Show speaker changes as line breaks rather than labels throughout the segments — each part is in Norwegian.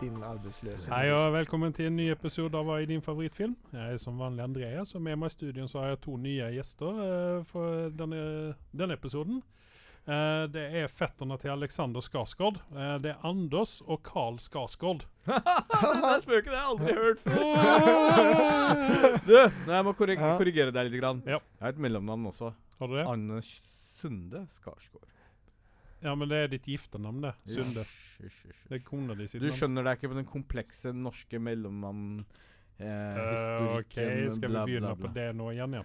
din arbeidsløshet.
Hei og velkommen til en ny episode av Hva er din favorittfilm? Jeg er som vanlig Andreas, og med meg i studio så har jeg to nye gjester eh, for denne, denne episoden. Eh, det er fetterne til Alexander Skarsgård. Eh, det er Anders og Carl Skarsgård.
det der spøket har jeg aldri hørt før.
Åh!
Du, nei, jeg må korrig
Ja.
korrigere deg litt. Grann.
Ja.
Jeg har et mellomnavn også.
Har du det?
Anne Sunde Skarsgård.
Ja, men det er ditt giftenavn, det. Sunde.
Hysj, hysj, hysj.
Det er kona di sitt
Du
navn.
skjønner deg ikke på den komplekse norske mellommann... Eh,
Eh, OK,
historikken,
skal vi
bla,
begynne
bla, bla.
på det nå igjen, ja.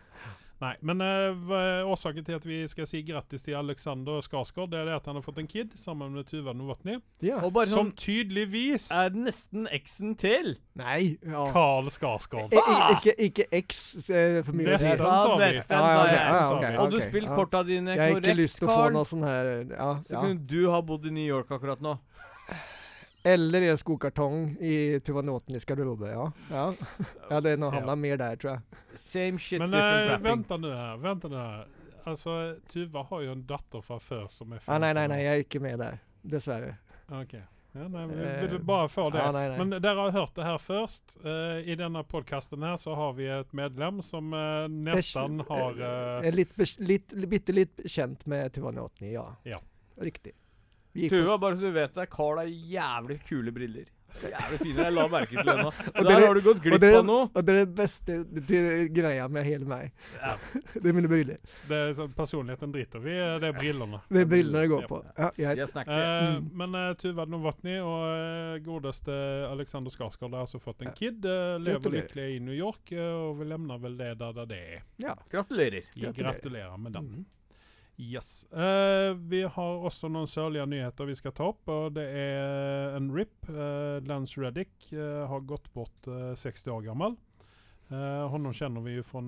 Nei, men eh, hva- årsaken til at vi skal si grattis til Alexander Skarsgård, det er det at han har fått en kid sammen med Tuva Novotny.
Ja.
Og bare
Som
sånn
tydeligvis
er det nesten eksen til.
Nei. Ja. Eh,
Carl Skarsgård.
I- i- Ikke, ikke X, eh, for mye å si.
Nesten, sa vi.
Nesten,
Ja, ja,
sa
ok,
jeg.
ja, ja, ok, ja,
Og du
ok,
spilte
ja.
korta dine
Jeg har
korrekt,
ikke lyst til å få
Carl.
noe sånn her eh, ja,
Så
ja.
kunne du ha bodd i New York akkurat nå.
Eller i en skokartong i Tuvanotnis garderobe. Ja. Ja. Jeg hadde nog hamnat mer der, tror jeg.
Same shit,
Men
different
eh,
wrapping.
vent nå her. Vent nå her. Altså, Alltså, Tuva har jo en datter fra før som er
Ah, nei, nei, nei,
år.
jeg er ikke med der. Dessverre.
Ok. Ja, nei, vi
Eh,
ville bare få det.
ja, nei, nei.
Men dere har hørt det her først. Eh, I denne podkasten her så har vi et medlem som eh, nesten har eh,
Jeg er litt, bes- litt, bitte litt kjent med Tuvanotni, ja.
Ja.
Riktig. Vi gikk
Tuva, bare så du vet det, Carl har jævlig kule briller. Jævlig fine. Jeg la merke til henne. Og
dere-
der har du gått
og
glipp
dere-
av noe.
på- Og det er det beste det, det greia med hele meg.
Ja.
det er mine briller.
det er sånn Personligheten driter vi i. Det er brillene.
Det er brillene jeg går
Ja.
på. Ja, jeg,
Jeg snakker ikke.
Eh,
Mm.
men eh, Tuva Novotny og eh, godeste Alexander Skarsgård har altså fått en kid. eh, lever
Gratulerer.
lykkelig i New York, eh, og vi levner vel det der det er.
ja.
Gratulerer.
Vi
Gratulerer.
gratulerer med den.
Mm.
Yes. Eh, vi har også noen sørlige nyheter vi skal ta opp, og det er en RIP. Eh, Lance Reddick eh, har gått bort eh, 60 år gammel. Uh, honom kjenner vi jo fra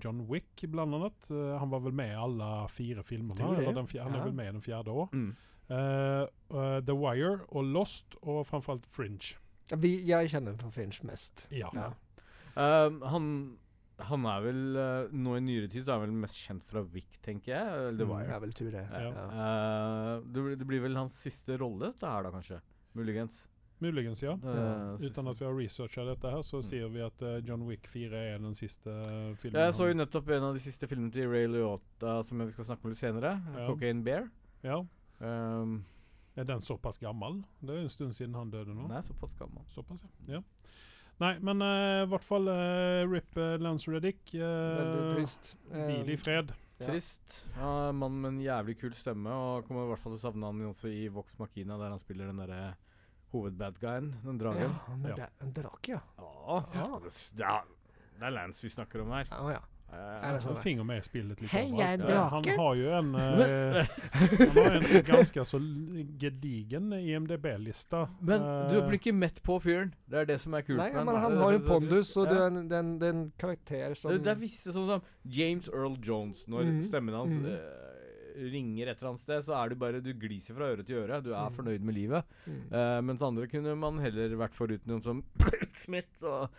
John Wick, blant annet. Eh, han var vel med i alle fire
Det er jo
filmene.
det.
Eller den fjer- han
Ja.
er vel med i den fjerde òg.
Mm.
eh, The Wire og Lost, og framfor alt Fringe.
Ja, Vi, jeg kjenner for Finch mest.
Ja.
Ja.
Um, han, han er vel eh, nå i nyere tid så er han vel mest kjent fra Wick, tenker jeg. Eller The
Mm.
Det
Wire.
er vel tur, det.
Ja.
Ja.
Eh, det, blir, det blir vel hans siste rolle, dette her da, kanskje. Muligens.
Muligens, ja.
Eh, siste-
Uten at vi har researcha dette, her,
Mm.
så sier vi at eh, John Wick 4 er den siste filmen.
Jeg så jo
han-
nettopp en av de siste filmene til Ray Liotta som vi skal snakke om litt senere.
Ja.
Cocaine Bear.
ja.
Um,
Er den såpass gammel? Det er jo en stund siden han døde nå.
den er såpass gammel.
Såpass, ja. ja. Nei, men eh, i hvert fall eh, Rip eh, Lance Reddick. eh,
Veldig trist.
hvil i
Eh,
fred.
Ja.
Trist. Ja, en Mann med en jævlig kul stemme. Og kommer i hvert fall til å savne han også i Vox Machina, der han spiller den derre hovedbadguyen, den dragen.
Ja, men
Ja.
det er en drake, ja.
Ja.
Ja.
Det, s- ja, det er Lance vi snakker om her.
Ja, ja.
Eh,
det
Han
sant?
finger med i spillet litt
Hei, jeg er en
overalt. Eh, Han
drake.
har jo en eh, Han har en ganske så l- gedigen E IMDb-lista.
men du
Eh,
blir ikke mett på fyren. Det er det som er kult.
Nei,
med
men han har jo en pondus, og
Ja.
det er en, det er en, det er en karakter som
Det, det er visse sånn som James Earl Jones. Når
Mhm.
stemmen hans
Mhm.
eh, ringer et eller annet sted, så er du bare Du gliser fra øre til øre. Du er
Mhm.
fornøyd med livet.
Mm.
Eh, mens andre kunne man heller vært foruten noen som Smith og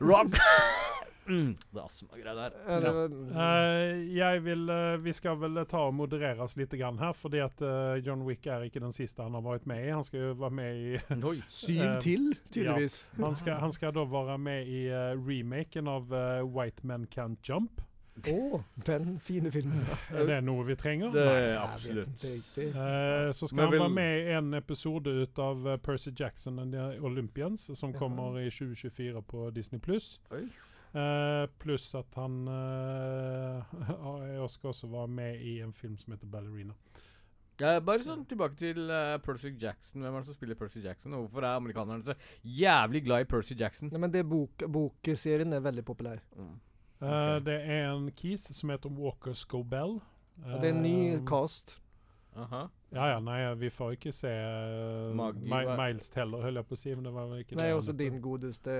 Rob mm, Det er astmagreier der.
Ja, det var-
Eh, jeg vil, eh, vi skal vel eh, ta og moderere oss litt grann her, fordi at eh, John Wick er ikke den siste han har vært med i. Han skal jo være med i
Oi.
Syv
eh,
til, tydeligvis.
Han skal, han skal da være med i eh, remaken av eh, White Men Can't Jump.
Å, den fine filmen.
Er det noe vi trenger?
Det
Nei.
er
jeg vet
absolutt.
ikke riktig.
Eh, så skal
Men
han
vil-
være med i en episode ut av eh, Percy Jackson and the Olympians, som
Jaha.
kommer i 2024 på Disney
Oi.
Pluss at han eh, jeg skal også være med i en film som heter Ballerina.
Eh, bare sånn tilbake til eh, Percy Jackson. Hvem er det som spiller Percy Jackson? Og hvorfor er amerikanerne så jævlig glad i Percy Jackson? Mm.
Nei, men det bok, bokserien er veldig populær.
Eh,
Ok.
Det er en kis som heter Walker Scobell.
Og det er en ny
Eh,
cast.
Aha.
Ja, ja, nei, vi får ikke se eh,
Magi-
Mi Miles Teller, holdt jeg på å si. Men det var vel ikke det
Nei,
han
også
het.
din godeste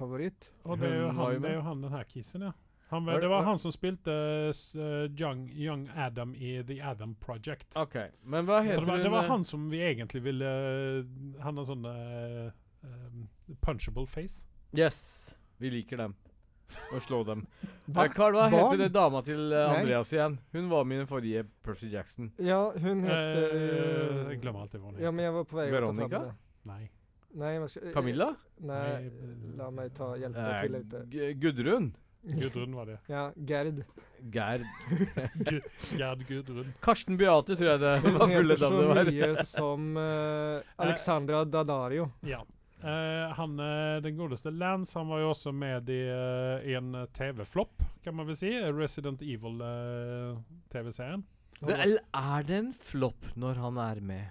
favoritt.
Og det er jo
Hun var
han,
jo
det
med.
er jo han den her kissen, ja. Han,
Var
var-
det-
det var
var-
han som spilte s- eh, young, young Adam i The Adam Project.
OK. Men
Så
hva heter
det var, det var
hun, eh,
han som vi egentlig ville eh, Han har sånn eh, eh, punchable face.
Yes, vi liker dem. Og slå dem.
Hva?
Eh, Carl, hva
Barn?
heter det dama til eh,
Nei.
Andreas igjen? Hun var med i den forrige Percy Jackson.
Ja, hun
Eh,
heter
jeg glemmer Eh, alltid hva han
Ja,
heter.
men jeg var på vei til å ta fram
Veronica?
det.
Nei.
Nei, men skal-
Camilla? Eh,
Nei, la meg ta hjelpe deg til litt.
G- Gudrun?
Gudrun var det.
Ja, Gerd.
Gerd
Gerd Gudrun.
Karsten Beate, tror jeg det
Hun
var fulle
heter så
navnet var.
mye som eh, Alexandra Daddario.
Ja. Eh, han, eh, den godeste Lance han var jo også med i eh, en TV-flopp, kan man vel si. Resident eh, Evil-TV-serien.
Det, eller er det en flopp når han er med?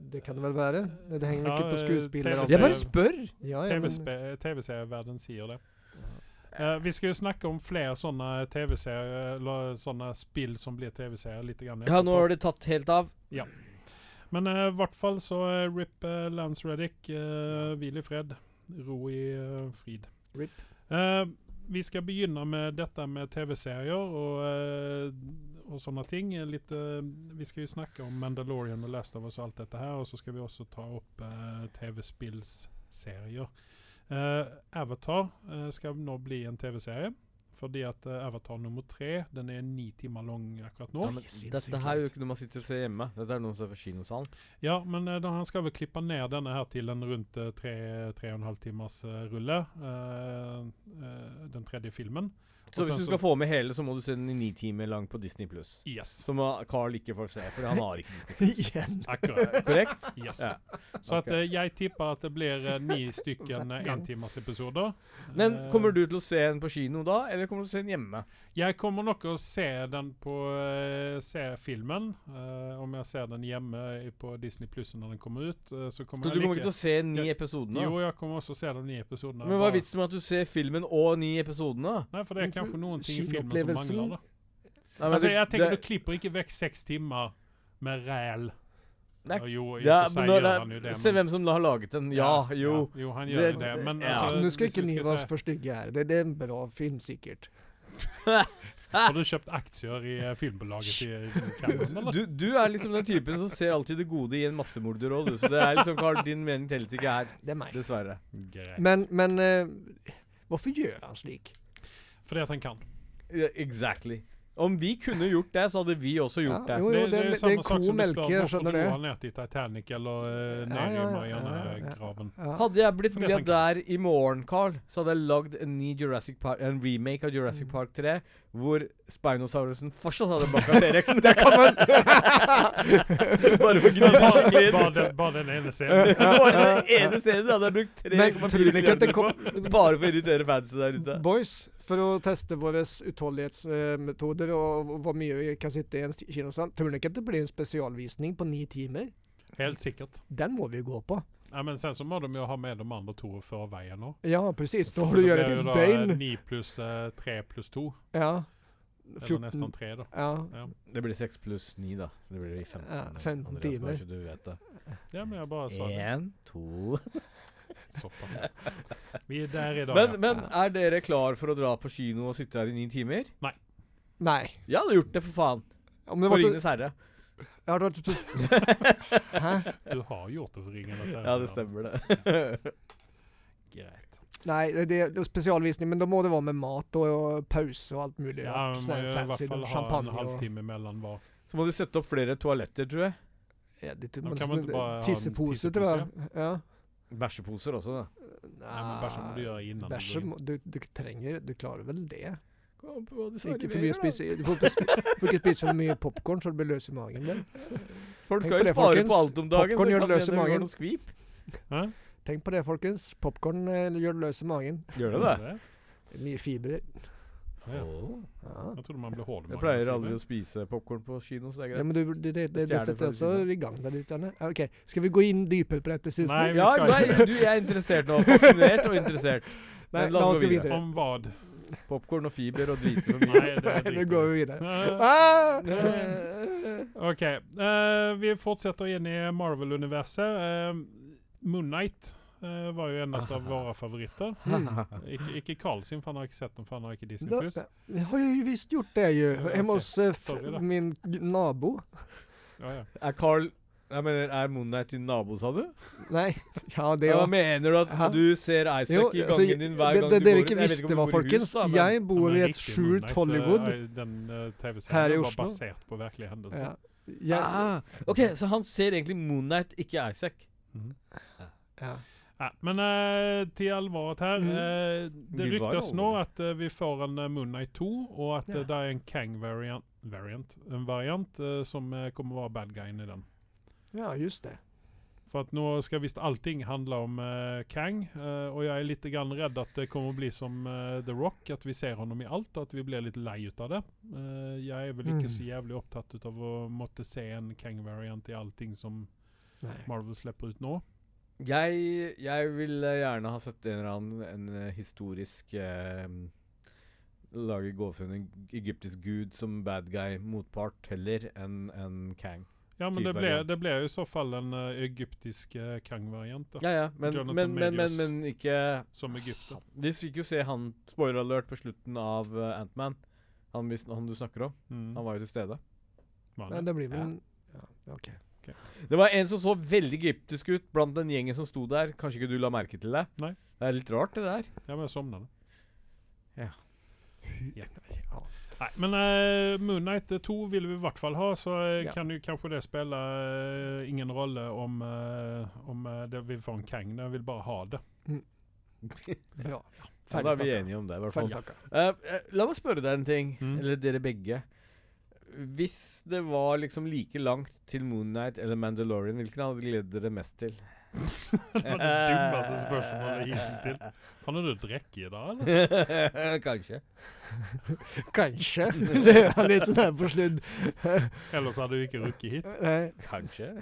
Det kan det vel være? Det henger
Ja,
ikke på
eh,
skuespillere.
TV-serie.
Jeg
altså.
bare spør!
Ja, ja, men-
TV-serievärlden sier det. Eh, vi skal jo snakke om flere sånne TV-serier, eller sånne spill som blir TV-serier. litt grann
Ja, nå
etterpå.
har det tatt helt av.
Men eh, i hvert fall så eh, RIP eh, Lance Reddick. eh, hvil i fred. Ro i eh, frid.
RIP.
Eh, vi skal begynne med dette med TV-serier og, eh, og sånne ting. Eh, Litt, eh, vi skal jo snakke om Mandalorian og Last of Us og alt dette her. Og så skal vi også ta opp eh, TV-spillserier. Eh, Avatar eh, skal nå bli en TV-serie. Fordi at eh, Avatar nummer tre den er ni timer lang akkurat nå.
Ja, men dette her er jo ikke noe man sitter og ser hjemme. Dette er noe som er på kinosalen.
Ja, men eh, da, han skal vel klippe ned denne her til en rundt eh, tre, tre og en halv timers eh, rulle. eh, eh, den tredje filmen.
Så
Og
hvis
sen
du
så-
skal få med hele, så må du se den i ni timer lang på Disney pluss.
Yes.
Som eh, Carl ikke får se, for han har ikke Disney.
Igjen.
Akkurat.
Korrekt?
Yes.
Ja.
Så at,
Ok.
eh, jeg tipper at det blir eh, ni stykken eh, entimersepisoder.
Men
Eh,
kommer du til å se den på kino da, eller kommer du til å se den hjemme?
Jeg kommer nok å se den på eh, Se filmen. eh, om jeg ser den hjemme i- på Disney Pluss når den kommer ut, eh, så kommer
Så du
jeg
kommer ikke til å se ni
Ja.
episodene?
Jo, jeg kommer også se de ni episodene.
Men hva
Bare-
er vitsen med at du ser filmen og ni episodene?
Nei, for det er kanskje noen ting i filmen som
Kinoopplevelsen-
mangler, da.
Nei, men
Altså,
du-
jeg tenker
det-
Alltså, du klipper ikke vekk seks timer med ræl.
Nei,
Ja, jo, i og
ja,
for seg
men når
gjør
det-
han jo det,
Se
men-
hvem som da har laget den. Ja, jo.
ja, Jo, han gjør jo
Det-
det, men alltså,
ja.
altså,
Nå skal
hvis
ikke
vi
ni være
se-
for stygge her. Det, det er en bra film, sikkert.
Har du kjøpt aksjer i eh, filmbolaget i i Cameron, eller?
Du, du er liksom den typen som ser alltid det gode i en massemorder òg, du. Så det er liksom Carl, din mening telles ikke her.
Det er meg.
Dessverre.
Greit.
Men, men eh, hvorfor gjør han slik?
Fordi at han kan.
Ja, Exactly. Om vi kunne gjort det, så hadde vi også gjort
Ja,
det.
jo, jo, det,
jo
det, er
samme
en
sak som
ko
du spør
melke, jeg
hvorfor
skjønner
dro
det.
han ned til Titanic eller eh,
Ja,
ned
ja,
i
ja,
Marianegraven.
Ja.
Hadde jeg blitt
Fordi at han
milliardær i morgen, Carl, så hadde jeg lagd en ny Jurassic Park En remake av Jurassic
Mm.
Park 3 hvor Spinosaurusen fortsatt hadde banka T-rexen. Bare for å gni det
Bare,
skikkelig
bare,
inn.
den- bare den ene scenen.
Det var den ene scenen hadde jeg brukt
Men
3,4
tror du ikke at det
milliarder på.
kom
Bare for å irritere fansen der ute.
Boys, for å teste våre utholdenhetsmetoder og hvor mye vi kan sitte i en sti- kinosal, tror dere ikke at det blir en spesialvisning på ni timer?
Helt sikkert.
Den må vi jo gå på.
Nei, men sen så må de jo ha med de andre to før veien òg.
Ja, precis. Da har du gjort et døgn.
9 pluss 3 pluss 2.
Ja.
Eller
14
nesten 3, da.
Ja.
Det blir 6 pluss 9, da. Det blir 15.
Ja, 15
Andreas,
timer.
bare så du vet det.
Ja, men jeg bare sa det.
1, 2
Såpass. Vi er der i dag.
men,
ja.
men er dere klar for å dra på kino og sitte her i ni timer?
Nei.
Jeg hadde gjort det, for faen.
Om det
For
var
Ringenes herre.
Jeg har typ vært Hæ?
Du har gjort det alltså. for Ringenes herre.
Ja, det stemmer, det.
Greit.
Nei, det, det det er spesialvisning, men da må det være med mat og, og pause og alt mulig.
Ja, vi må
rart. Sånn
jo i hvert
fancy
fall ha en
champagne og
halvtime mellom hver.
Så må de sette opp flere toaletter, tror jeg.
ja, det, typ
Da
men
kan man
sånn
ikke bare ha en
Tissepose,
tissepose,
tror jeg. Ja.
Bæsjeposer også, da.
Nei, men bæsja må du gjøre innan. du
Bæsje
går inn.
må- du, du trenger Du klarer vel det?
Kom på, de svarer
Ikke for mye
mer, da.
spise, du får ikke spi- får ikke spise for mye popkorn så du blir løs i magen. din.
Folk skal
Tenk på
jo
det,
spare
folkens.
på alt om dagen,
Popcorn gjør
så kan det
løs i
hende vi
magen.
får noe skvip.
Hæ?
Tenk på det, folkens. Popkorn gjør det løs i magen.
Gjør det
Gjør du
det?
det?
Det er Mye fiber.
Å, Ja.
Ja.
Jeg trodde man ble hård i
Jeg
magen,
pleier
sier
aldri
vi.
å spise popkorn på kino, så det er
Ja,
greit.
men du, det, det, alltså det, det
Stjerne
setter
fra
også
siden.
i gang deg litt. Janne. Ja, Ok, Skal vi gå inn dypere på dette, syns
Nei,
ni?
vi
Ja,
skal
nei,
ikke-
du, jeg er interessert nå. Fascinert og interessert.
Nei,
men la oss gå videre.
Om vad?
Popkorn og fiber og drite for mye.
Nei, det
Nei,
er
nå går
dritt.
vi videre.
Eh,
Ah!
OK. eh, vi fortsetter inn i Marvel-universet. Eh, Moon Knight eh, var jo en av våre favoritter. Ikke, ikke Carl sin, for han har ikke sett den, for han har ikke Disney
Da,
Pluss.
jeg har jo visst gjort det, jo.
Ja,
Hjemme
ok.
hos eh, f-
Sorry, da.
min g- nabo.
Ja, ja.
Er Carl Jeg mener, er Moon Knight din nabo, sa du?
Nei, ja, det
Hva
òg.
mener du at
Hæ?
du ser
Jo,
Isaac i
altså,
gangen din hver
det,
gang
det
du
dere
går ut?
ikke
Jeg vet
visste
om du
var,
bor i
folkens
hus, da, men-
Jeg bor
Den
i
er
et
riktig
skjult
Moonlight, eh,
Hollywood.
er- Den eh,
Her i
TV-serien var
Oslo.
basert på virkelige hendelser.
Ja. Jeg,
ah, OK, så han ser egentlig Moon Knight, ikke Isaac.
Mhm.
Ja.
Ja, men eh, til alvoret her.
Mm.
eh, det
Gud, hva er
ryktes nå
alvoret?
at eh, vi får en uh, Moonnight 2, og at
Ja.
eh, det er en Kang variant, variant, en variant eh, som eh, kommer å være bad guyen i den.
ja, just det.
For at nå skal visst allting handle om eh, Kang, eh, og jeg er litt grann redd at det kommer å bli som eh, The Rock, at vi ser honom i alt, og at vi blir litt lei ut av det. Eh, jeg er vel ikke
Mm.
så jævlig opptatt ut av å måtte se en Kang-variant i allting som
Nei.
Marvel slipper ut nå.
Jeg, jeg ville gjerne ha sett en eller annen en eh, historisk eh, Lage gåsehud en egyptisk gud som bad guy, motpart, heller enn en Kang.
Ja, men det ble,
Tid-variant.
det ble jo i så fall en eh, egyptisk eh, Kang-variant, da.
Ja, ja, men,
Jonathan
men, men, men,
Majors.
men ikke
Som Egypter.
Vi fikk jo se han Spoiler alert på slutten av eh, Ant-Man Han, vi sn- han du snakker om.
Mm.
Han var jo til stede.
Var
Nei,
det?
det blir vel en- ja, OK.
Det var en som så veldig egyptisk ut blant den gjengen som sto der. Kanskje ikke du la merke til det?
Nei.
Det er litt rart, det der.
Ja, men jeg somnade.
Ja.
Nei, men uh, Moonnight 2 vill vi i vart fall ha, så eh,
Ja.
kan ju kanskje det spille eh, ingen rolle om, eh, om eh, det vi får en Kang. Jeg vil bare ha det.
Bra.
Ja, da er vi enige om det, i hvert fall.
Ferdig snakka.
Eh, eh, la meg spørre deg en ting,
Mm.
eller dere begge. Hvis det var liksom like langt til Moonnight eller Mandalorian, hvilken hadde gledet dere mest til?
det var det dummeste
Eh.
spørsmålet hittil. Faen, er du drikke i dag, eller?
Kanskje.
Kanskje. Det er litt sånn her på slutt.
Ellers hadde du ikke rukket hit.
Nei.
Kanskje.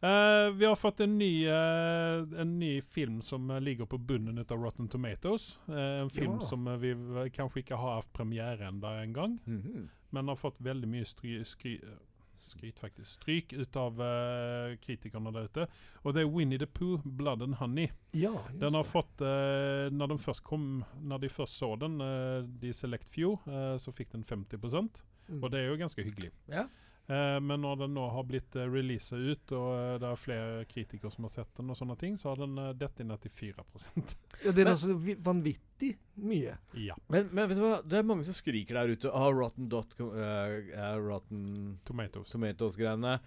Eh, vi har fått en ny, eh, en ny film som eh, ligger på bunnen av Rotten Tomatoes. Eh, en film
Ja.
som eh, vi eh, kanskje ikke har hatt premiere enda en gang.
Mhm.
Men har fått veldig mye stry, skry, eh, skryt, faktisk. Stryk ut av eh, kritikerne der ute. Og det er Winnie the Pooh, 'Blood and Honey'.
Ja, just
Den har
det.
fått eh, Når den først kom Når de først så den, eh, de Select Few, eh, så fikk den 50
Mm.
og det er jo ganske hyggelig.
Ja.
Eh, men når den nå har blitt uh, releasa ut, og eh, det er flere kritikere som har sett den, og sånne ting, så har den uh, dette ned til 4
ja, det er
Men-
altså vi- vanvittig mye.
Ja.
Men, men vet du hva, det er mange som skriker der ute. Ah, rotten, dot, com- eh, eh, rotten
Tomatoes.
Tomatoes-greiene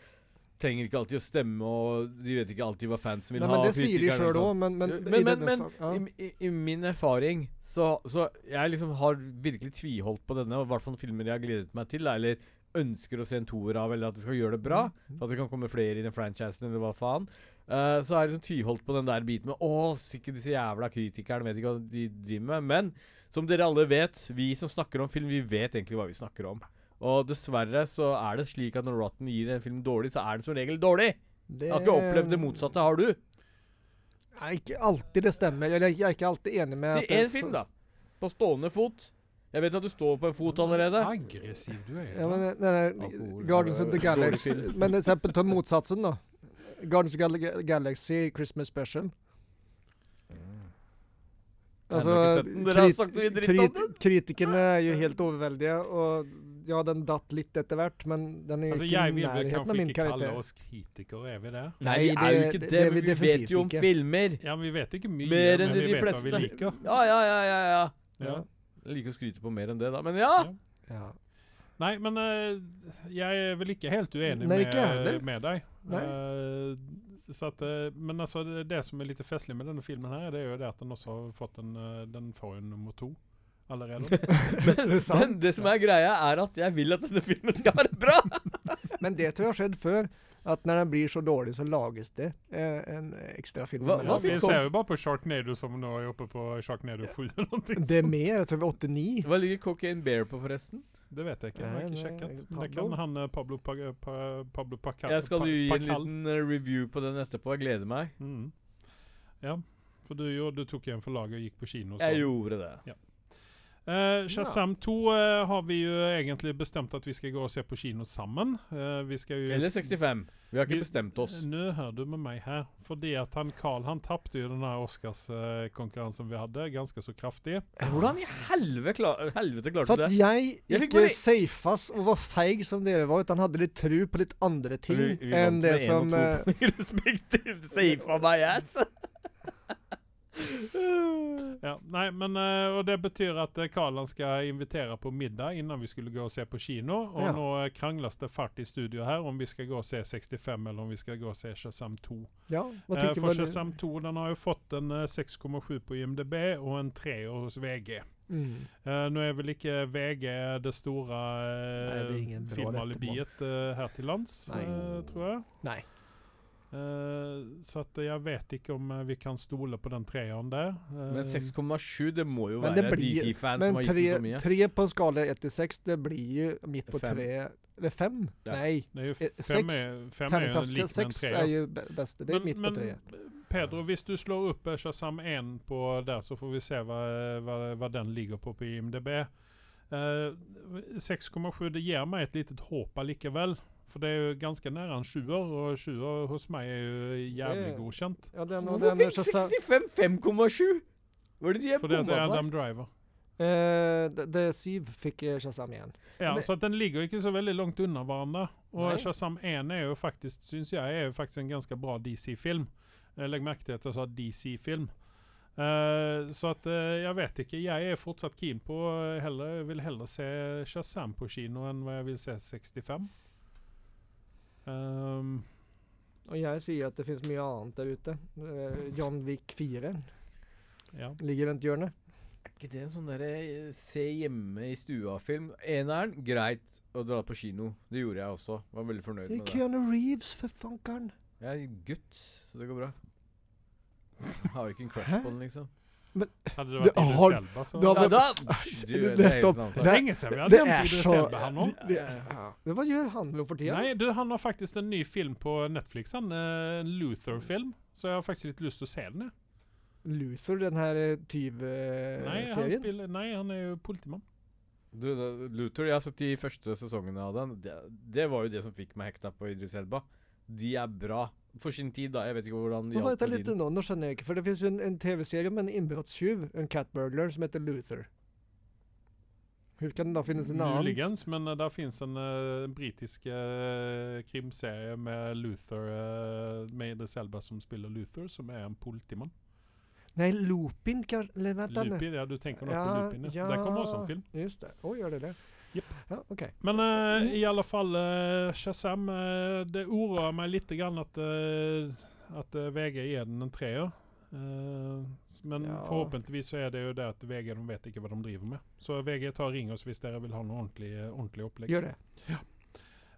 trenger ikke alltid å stemme, og de vet ikke alltid hva fansen vil
Nei,
ha.
men det
og
sier de
kritikerne og
sjøl
sånn.
òg, men, men,
Men-
i
men-
denne
men-
sak- ja.
I, i, I min erfaring så, så Jeg liksom har virkelig tviholdt på denne, og i hvert fall filmer jeg har gledet meg til, da, eller ønsker å se en toer av, eller at de skal gjøre det bra. For at det kan komme flere i den franchisen, eller hva faen. Eh, så har jeg liksom tviholdt på den der biten med Å, sikkert disse jævla kritikerne vet ikke hva de driver med. Men som dere alle vet, vi som snakker om film, vi vet egentlig hva vi snakker om. Og dessverre så er det slik at når Rotten gir en film dårlig, så er den som regel dårlig.
Det-
Jeg har ikke opplevd det motsatte, har du?
Nei, ikke alltid det stemmer. Eller jeg er ikke alltid enig med
Si
at det er
én
så-
film, da. På stående fot. Jeg vet at du står på en fot allerede.
Aggressiv du er.
Ja, men nei, nei,
Alkohol.
Guardians of the
Dårlig
Galaxy
film.
Men eksempel ta motsatsen, da. Guardians of the Gal- Galaxy Christmas Special. Alltså,
Jeg har ikke sett den. Dere har sagt så mye dritt om den.
Kritikerne er jo helt overveldige, og ja, den datt litt etter hvert, men den er jo
altså,
ikke
jeg
i
vil vel
nærheten av
kanskje
min
ikke kalle
karakter.
oss kritikere, er vi det?
Nei, vi er jo ikke det,
er vi
men vi
definitivt
vet jo om
ikke.
filmer.
Ja, men Vi vet ikke mye,
Mer enn
men vi
de
vet hva vi
fleste.
liker.
Ja, ja, ja, ja. ja.
Ja.
Jeg liker å skryte på mer enn det, da. Men ja!
Ja.
Nei, men eh, jeg er vel ikke helt uenig
Nei, ikke jeg heller.
med, med deg.
Nei.
Eh, så at, eh, men altså, det, det som er litt festlig med denne filmen, her, det er jo det at den også har fått en eh, Den får jo en nummer to allerede.
Det er sant.
Men det som er greia, er at jeg vil at denne filmen skal være bra!
Men det tror jeg har skjedd før. At når den blir så dårlig, så lages det eh, en ekstra film.
Hva-
ja,
hva
imellom.
vi
film kom?
ser jo bare på Sharknado som nå er oppe på Sharknado 7 eller noe.
Det er med, jeg tror vi er 89.
Hva ligger Cocaine Bear på, forresten?
Det vet jeg ikke, jeg har
Nei,
ikke
nei,
sjekket.
Pablo.
Det kan han eh, Pablo, pa, pa, Pablo Pacal.
Jeg skal jo gi en
Pacal.
liten eh, review på den etterpå. Jeg gleder meg.
Mm. Ja, for du, jo, du tok jo en for laget og gikk på kino. så-
Jeg gjorde det.
Eh, Shazam 2 eh, har vi jo egentlig bestemt at vi skal gå og se på kino sammen. Eh, vi skal jo
Eller 65. Vi har
Vi-
ikke bestemt oss.
Nå hører du med meg her. Fordi at han Carl han tapte jo den her Oscars-konkurransen vi hadde, ganske så kraftig.
Mm.
Hvordan i helvete, kla helvete klarte
For
du
at
det?
jeg
Jeg fikk
ikke
bare-
safas og var feig som dere var, utan hadde litt tru på litt andre ting
Vi- vi
enn
vant med
det eh,
en
som
og to
eh,
poeng Respektivt safa meg ass.
Ja, nei, men eh, Og det betyr at eh, Karlan skal invitere på middag innan vi skulle gå og se på kino. Og
Ja.
nå eh, krangles det fart i studio her om vi skal gå og se 65 eller om vi skal gå og se Shazam 2.
Ja, hva
Eh,
tycker
for
väl du?
Shazam 2 den har jo fått en eh, 6,7 på IMDb og en 3 hos VG.
Mm.
Eh, nå er vel ikke VG det store
Nei, det er
uh,
ingen bra
filmalibiet eh, her til lands,
Nei.
eh, tror jeg.
Nei.
Eh, så at jeg vet ikke om eh, vi kan stole på den treeren der. Eh,
Men 6,7, det må jo
Um, Men det
være
blir-
DC-fan som
Men
har gitt den så
tre,
mye.
tre på en skala 1 till 6, det blir ju mitt på
Fem.
tre. Eller fem?
Ja.
Nej.
det er jo
eh,
fem,
sex.
er, fem er jo en
Terningkast
liten
6 är
treer.
ju bä- bäst, det är mitt på tre.
Pedro, hvis du slår opp eh, Shazam 1 på der, så får vi se hva, hva, hva den ligger på på IMDb. Eh, 6,7 det gir meg et litet håp allikevel. For det er jo ganske nære en sjuer, og sjuer hos meg er jo jævlig
Det-
godkjent.
Ja, den och
Hvorfor
den är
fikk
Shazam.
65 5,7? Var det de jeg
For det, det
bomma
er
på?
Adam Driver.
Eh, det- det Siv fick eh, Shazam igen.
Ja,
Men-
så at den ligger ikke så veldig langt unna hverandre. Og
Nei.
Shazam 1 er jo faktisk, syns jeg, er jo faktisk en ganske bra DC-film. Eh, Legg merke til at jeg sa DC-film. Eh, så at eh, jeg vet ikke. Jeg er fortsatt keen på eh, heller, vil heller se Shazam på kino enn hva jeg vil se 65. Ehm,
Och jag ser att det finns mycket annat där ute. Eh, John Wick 4
ja.
ligger runt hjørnet.
Er ikke det en sånn derre eh, se hjemme i stua-film? Eneren, greit å dra på kino. Det gjorde jeg også. Var veldig fornøyd
Det är
med det.
Keanu Reeves för fankaren.
Jeg er gutt, så det går bra. Jeg har ikke en crush på den, liksom.
Hadde det
Det
vært Idris
har-
Elba, så
det har-
Ja,
men-
da Psh, du, det er helt
Nettopp.
annen
Det
sak.
er lenge siden vi har
det
nevnt
er
Idris
så-
Elba her nå.
Det, ja. Men vad gör han nu för tiden?
Nei, du, han har faktisk en ny film på Netflix, han. eh, En Luther-film. Så jeg har faktisk litt lyst til å se den. jeg.
Luther, den här
Nei,
eh,
han,
tyv-serien?
spiller, nei, han er jo politimann.
Du, da- Luther, jeg har sett de første sesongene av den. Det, det var jo det som fikk meg hekta på Idris Elba. De er bra. For sin tid, da. Jeg vet ikke hvordan de
Men
hjalp
vänta
på
lite
tiden.
nå, nu känner jag inte, för det finns ju en, en tv-serie med en inbrottstjuv, en cat burglar, som heter Luther. Hur kan det då finnas en annan?
Muligens, men eh, der fins en eh, britisk eh, krimserie med Luther eh, med Idris Elba som spiller Luther, som er en politimann.
Nej, Lupin kanske, eller vänta nu.
Lupin, ja, du tenker nok på
Ja,
Lupin. Ja. Der kommer også en film.
Just det, oj, gör det det?
Japp.
Ja, okej.
Men
Mm.
eh, i alle fall, eh, Shazam eh, Det uroer meg litt grann at, eh, at eh, VG gir den en treer. Eh, s- men
Ja.
forhåpentligvis så er det jo det at VG de vet ikke hva de driver med. Så VG tar ring oss hvis dere vil ha noe ordentlig, eh, ordentlig opplegg.
Gör det.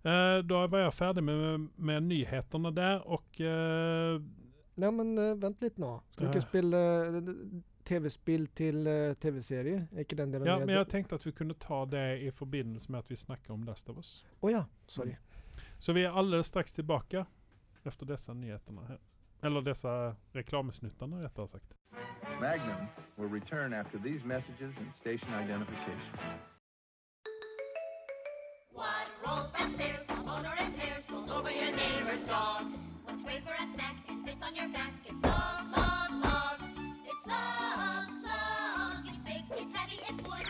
Eh, da var jeg ferdig med, med nyhetene der, og eh,
Nej men uh, vänta lite nu. Ska du inte
Eh.
spela eh, tv-spel till eh, tv-serie? Är inte den delen
Ja,
med-
men jeg tenkte at vi kunne ta det i forbindelse med at vi snakker om Last of Us.
Åh ja, sorry.
Så vi er alle straks tilbake efter disse nyhetene her. Eller disse reklamesnuttene, rettere sagt.
Magnum will return after these messages and station identification.
What rolls downstairs from owner and hairs rolls over your neighbor's dog. What's great for a snack and fits on your back? It's log, log, log. It's log, log. It's big, it's heavy, it's wood.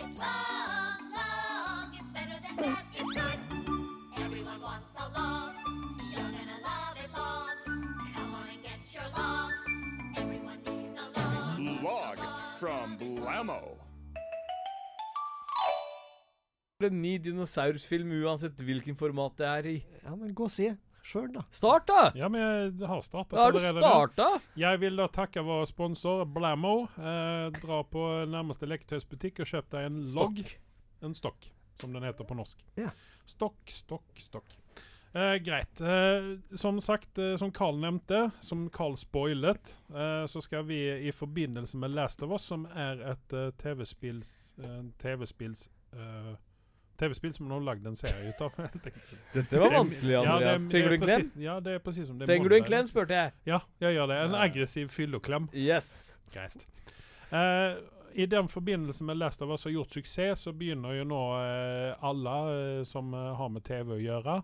It's log, log. It's better than bad, it's good. Everyone wants a log. You're gonna love it long. Come on and get your log. Everyone needs a log. Needs a
Log from Blammo.
Det er en ny dinosaurfilm uansett hvilken format det er i.
Ja men gå och se. Skörd då.
Start, da!
Ja, men jeg har startet
Da har du
allerede nå.
starta!
Jeg vil da takke vår sponsor Blammo. Eh, dra på nærmeste leketøysbutikk og kjøp deg en logg. En stokk, som den heter på norsk.
Ja.
Stokk, stokk, stokk. Eh, greit. Eh, som sagt, eh, som Carl nevnte, som Carl spoilet, eh, så skal vi i forbindelse med Last of Us, som er et eh, TV-spills eh, TV-spills eh, TV-spill som noen har lagd en serie ut av.
Dette var vanskelig, Andreas. Trenger du en klem?
Ja, det er precis som det er
Trenger du en
måndag.
klem, spurte jeg.
Ja, jeg gjør det. En
Nei.
aggressiv fylleklem.
Yes.
Greit. Eh, I den forbindelse med Last of Us har gjort suksess, så begynner jo nå eh, alle eh, som eh, har med TV å gjøre,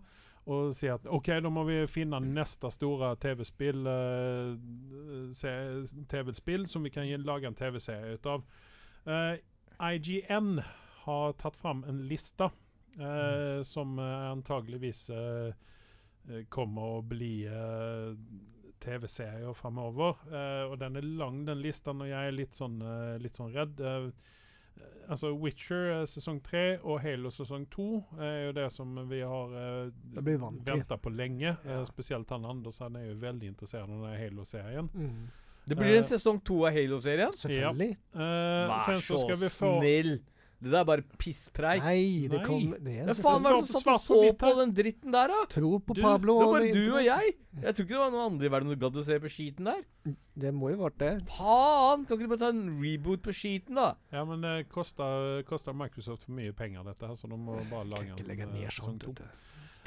å si at OK, da må vi finne neste store TV-spill eh, se- TV-spill som vi kan gi- lage en TV-serie ut av. Eh, IGN har tatt fram en lista eh,
Mm.
som eh, antageligvis eh, eh, kommer å bli eh, TV-serier framover. Eh, og den er lang, den listen, og jeg er litt sånn, eh, litt sånn redd. Eh, altså Witcher eh, sesong tre og Halo sesong to er jo det som vi har
Det
eh,
blir vant til.
venta på lenge. Eh,
Ja.
spesielt han Anders han er jo veldig interessert i den Halo-serien.
Mm.
Det blir
Eh,
en sesong to av Halo-serien.
Selvfølgelig.
Eh,
Vær
sen så
så
skal vi få
snill! Det der er bare pisspreik.
Nei, det
Nei.
kom det er
Hvem
så-
faen var det
står
som
på
satt
svart
og så
på hvitt
på
her.
den dritten der, da?
Tro på
Du,
Pablo.
Det var
og
bare du og
internet.
jeg. Jeg tror ikke det var noen andre i verden som gadd å se på skiten der.
Det må jo vært det.
Faen! Kan ikke du bare ta en reboot på skiten, da?
Ja, men det koster, koster Microsoft for mye penger, dette her, så de må bare lage
Kan ikke legge
eh,
ned
sesong
sånt.
to.
vet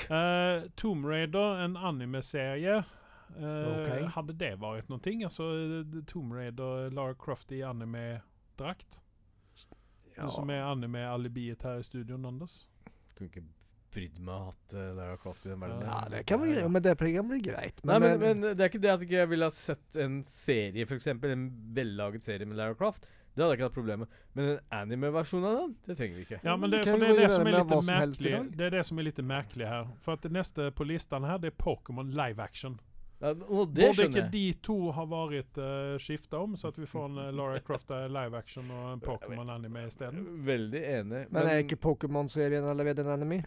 du.
Eh, Tomb Raider, en anime-serie. Eh,
Okej.
Hade det varit någonting? Alltså eh, d- Tomb Raider, Lara Croft i anime-drakt? Du som är anime-alibiet här i studion, Anders.
Kunne ikke brydd meg å hatt eh, Lara Croft i den verden.
Ja, det kan vi gjøre, men det programmet blir greit.
Nei, men, men det er ikke det at ikke jeg ville ha sett en serie, f.eks. En vellaget serie med Lara Croft. Det hadde jeg ikke hatt problem med. Men en anime-versjon av den, det trenger vi ikke.
Ja, men
Mm, det
det,
kan
för
ju
det är
gå
det
vidare
som är
med
lite
vad som helst
märkligt.
idag.
Det är det som är lite märkligt här. För att nästa på listan här, det är Pokémon live action.
Ja, og det
Borde inte
skjønner jeg.
de två ha varit uh, skifta om så att vi får en eh, Lara Croft eh, live action och en Pokémon anime istället?
Veldig enig.
Men er ikke Pokémon-serien allerede en anime?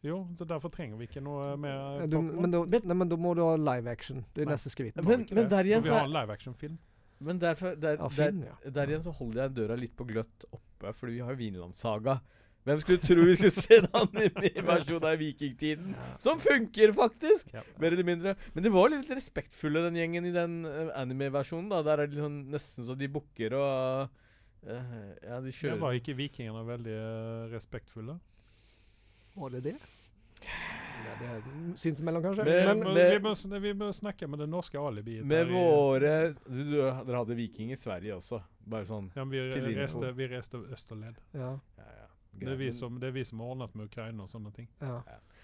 Jo, så därför tränger vi inte några mer eh,
Du, men,
Pokémon.
da, nei, men da må du ha live action. Det er
Nei.
neste skritt.
men, men der
Men
igjen
Vi
så
har
er,
en live action-film.
Men derfor der,
Ja,
der,
Finn, ja.
Der igjen så holder jeg døra litt på gløtt oppe, fordi vi har jo Vinlandssaga. Hvem skulle tro vi skulle se en anime-versjon av vikingtiden? Som funker, faktisk!
Ja.
Mer eller mindre. Men de var litt respektfulle, den gjengen i den eh, anime-versjonen. da. Der er det liksom nesten så de bukker og eh, Ja, de
Det
kjører
var ikke vikingene veldig eh, respektfulle?
Var det det? Ja, det er Sinsemellom, kanskje?
Men-
Men,
Men,
med-
vi, må, sn- vi må snakke med det norske alibiet. her
Med
i-
våre du, du, Dere hadde viking i Sverige også. Bare sånn
ja, men vi,
til linje.
reiste, vi reiste østerled.
ja,
ja, ja.
Det er, vi
greit.
som, det er vi som har ordnet med Ukraina og sånne ting.
ja.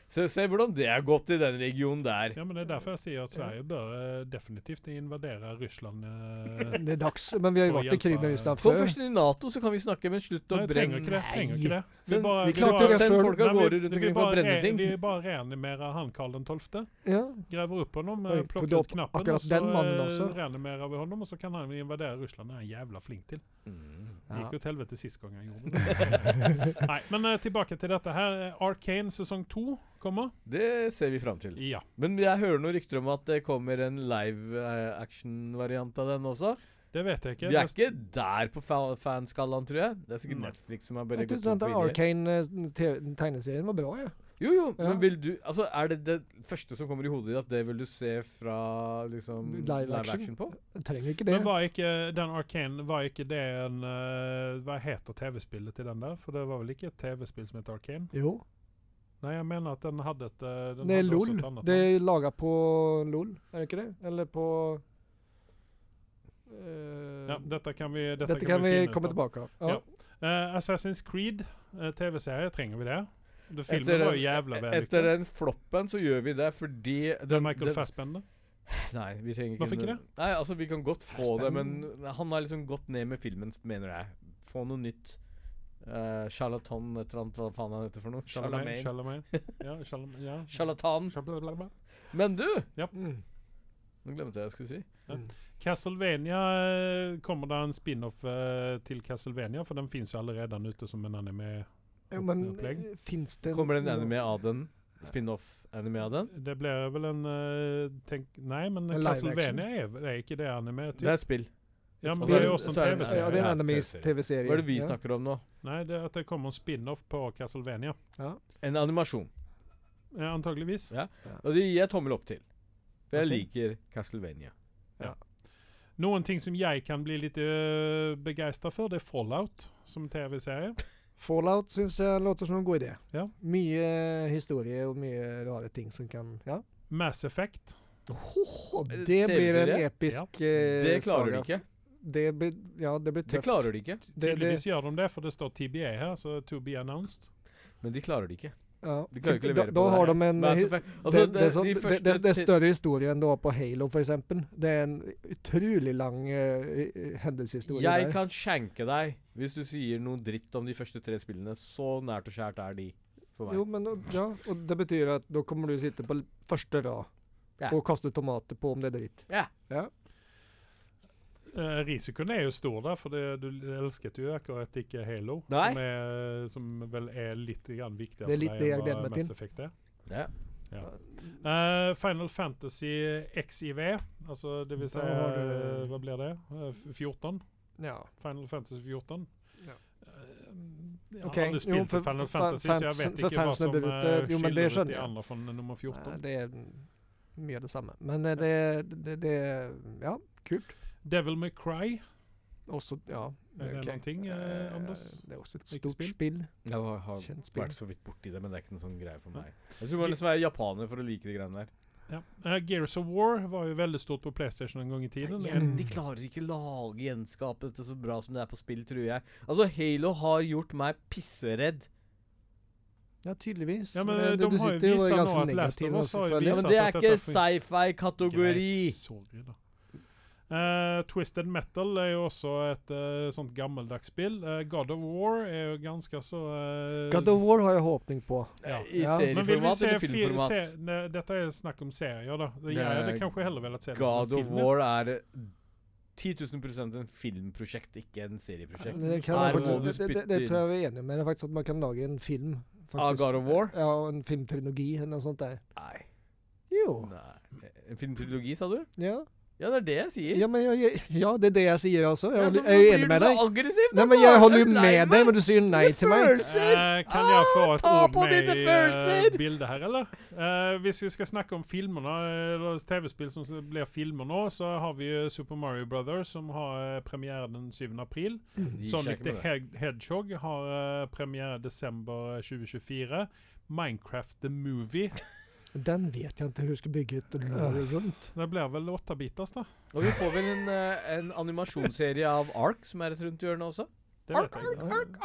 Se, se hvordan det har gått i den regionen der.
Ja, men Det er derfor jeg sier at Sverige bør eh, definitivt invadere Russland. eh.
Det er dags. Men vi har jo
For å
vært i krig
hjelpe-
med Russland
For
før.
først i Nato så kan vi snakke, men slutt å
Nei, trenger
brenne
ikke det. trenger ikke det.
Vi,
bare-
vi
vi
klarte
bare-
å sende folk av
Nei, vi-
gårde rundt
vi
omkring for
bare
å brenne
re-
ting.
Vi bare reanimerer han Karl 12.
Ja.
Graver opp honom,
Oj,
eh,
tog du
plukker ut
opp
knappen,
akkurat
og så
den mannen også?
eh, reanimerer vi honom, og så kan han invadere Russland. Det er han jævla flink til.
Mm.
Det
Ja.
gikk jo til helvete sist gang jeg gjorde det. Nei, men eh, tilbake til dette her. Arcane sesong to kommer.
Det ser vi fram til.
Ja.
Men jeg hører noen rykter om at det kommer en live eh, action-variant av den også.
Det vet jeg ikke.
De er
Det-
ikke der på fa fanskallaen, tror jeg. Det er sikkert
Nei.
Netflix som er
Jeg
bare
trodde
gått
sånn
opp
at
på idé.
Arcane-tegneserien eh, var bra, jeg.
Jo, jo,
Ja.
men vil du Altså, er det det første som kommer i hodet ditt, at det vil du se fra liksom
Live
live
action?
action på?
Jeg trenger ikke det.
Men var ikke den Arcane Var ikke det en eh, Hva heter TV-spillet til den der? For det var vel ikke et TV-spill som het Arcane?
Jo.
Nei, jeg mener at den hadde et eh, den
Det er
hadde også
LOL.
et annet
Det
navn.
er laga på LOL, er det ikke det? Eller på eh,
ja, dette kan vi, dette
Dette, kan vi
finne ut
komme
av.
tilbake av.
Ja. Eh, Assassin's Creed, eh, TV-serie, trenger vi det? Det filmen
Etter
var jo
den,
jævla
e-
etter
vellykka.
den floppen så gjør vi det fordi den-
Michael
den-
Fassbender.
Nei, vi trenger ikke
Hvorfor ikke
noe- Nei, altså Vi kan godt få det, men han har liksom gått ned med filmen, mener jeg. Få noe nytt. Uh, charlatan, et eller annet, hva faen han heter for noe.
Chalamet.
Charlamagne.
Chalamet. Ja, Chalamet. Ja.
Charlatan.
Chalamet.
Men du!
Mm.
Nå glemte jeg hva jeg skulle si.
Castlevania eh, kommer det en spin-off eh, til Castlevania, for den finnes jo allerede ute som en anime.
Jo, men
Opplegg.
fins det
Kommer det en anime av den? Spin-off-anime av den?
Det blir vel en eh, tenk, Nei, men
En live
Castlevania er, vel- er ikke det anime?
Det
Typ.
er et spill.
Ja, men
spill.
det er jo også en
Så er det-
Ja, det
TV-serie.
er en
Ja,
anime-TV-serie.
Hva er det vi
ja.
snakker om nå?
Nei, det er at det kommer en spin-off på Castlevania.
En animasjon.
Eh, antageligvis.
Og det gir jeg tommel opp til. For jeg
Ok. liker
liker Castlevania.
Noen ting som jeg kan bli litt uh, begeistra for, det er Fallout som TV-serie.
Fallout syns jeg låter som en god idé. eh,
Ja.
Mye historie og mye rare ting som kan Ja.
Mass Effect.
Og det blir en
TV-serie?
episk eh,
Det klarer de ikke.
Det blir, ja, det blir
Det
tøft.
klarer de ikke.
Det- det-
Tydeligvis gjør de det, for det står TBA her, så to be announced.
Men de klarer det ikke.
ja.
De klarer ikke å
da,
levere på
da
det. alltså,
har de en
Mass
hi-
Effect. Altså,
Alltså, det, det, er så,
de
det,
første
det, det er
tre-
større historie enn det var på Halo, f.eks. Det er en utrolig lang eh, eh, hendelseshistorie
Jeg
der.
kan skjenke deg hvis du sier noe dritt om de første tre spillene. Så nært og kjært er de for meg.
Jo, men, og- ja, og det betyr at da kommer du sitte på l- første rad
Ja.
Og kaste tomater på om det er dritt.
Ja.
Eh, risikoen er jo stor der, for det, du elsket jo akkurat ikke Halo.
Nei.
Som, er, som vel er litt grann viktigere
Det er litt
for
det
deg
jeg
enn hva
gleder meg til.
Mass Effect er.
Ja.
Eh, Final Fantasy XIV, altså alltså det vil si
Da har du-
eh, Hva blir det? Eh, f- 14?
Ja.
Final Fantasy 14?
Ja.
Eh, Jeg har
Okej,
aldri
jo,
spilt
for-
Final
for
Fantasy, så jeg
fans-
vet
for
ikke hva
fansen
som
der
eh,
ute, jo, men det
skiller ut
skjønner
de
jeg.
andre fra nummer 14.
Nei, Det er mye av det samme. Men eh, det, det, det Ja, kult.
Devil May Cry,
Også Ja.
er det
ok.
noen ting, eh, Anders?
Eh, Det er også et
Ikke
stort
spill?
spill.
Jeg har, har
Kjent spill.
vært så vidt borti det, men det er ikke noen sånn greie for
Nei.
meg. Jeg tror man liksom er japaner for å like de greiene der.
Ja. Eh, Gears of War var jo veldig stort på PlayStation en gang i tiden.
Igjen, de klarer ikke lage gjenskape dette så bra som det er på spill, tror jeg. Altså, Halo har gjort meg pisseredd.
Ja, tydeligvis.
Ja, men
eh,
de har jo
sitter og er
vist nå
ganske
at Last of
negativ
Us har jo
også, føler
Ja,
jeg.
vist-
men
satt
det
at
er
dette
ikke
fun-
sci-fi-kategori!
Greit, sorry da. Eh, Twisted Metal er jo også et eh, sånt gammeldags spill. Eh, God of War er jo ganske så eh,
God of War har jeg håpning på.
Ja.
I
Ja.
Men vil vi
serieformat
se
eller
fi-
filmformat?
se- ne, dette er snakk om serier, da. Det,
Det
jeg
er
hadde kanskje heller velat se det
God
som en
of
film.
War er 10 000 en filmprosjekt, ikke en
Men
serieprosjekt.
Det, kan
Her
man
må du
faktisk, det, det, det
spytte
tror jeg vi er enige om. Men det er faktisk at man kan lage en film.
Av
faktisk.
Ah, God of War?
Ja, og en filmtrilogi eller noe sånt der.
Nei.
Jo.
Nei. En filmtrilogi, sa du?
Ja,
Ja, det er det jeg sier.
ja men jeg- jeg, ja, det alltså. er det jeg sier også. Jeg,
Ja,
holder-
så
jeg er jo
hvorfor
enig
blir
med
du så
deg.
aggressiv,
Nei,
da?
men jeg holder jo
Er du lei
med deg,
meg?
men du sier jo nei
Det
til meg.
Følelser!
Eh, kan jeg få
Ah,
et
ta
ord
på
med
mine
i eh,
følelser!
bildet her, eller? Eh, hvis vi skal snakke om filmerna, eh, eller TV-spill som s- blir filmer nå, så har vi jo Super Mario Brothers, som har eh, premiere den 7. april.
De
Sonic
sjekker
the
med det.
He- Hedgehog har eh, premiere desember 2024. Minecraft the Movie.
Den vet jeg ikke hur jeg skal bygge ut lår rundt.
Det blir vel åttebiters, da?
Og vi får vel en, eh, en animasjonsserie av Ark som er rett rundt hjørnet også.
Det vet jeg ikke.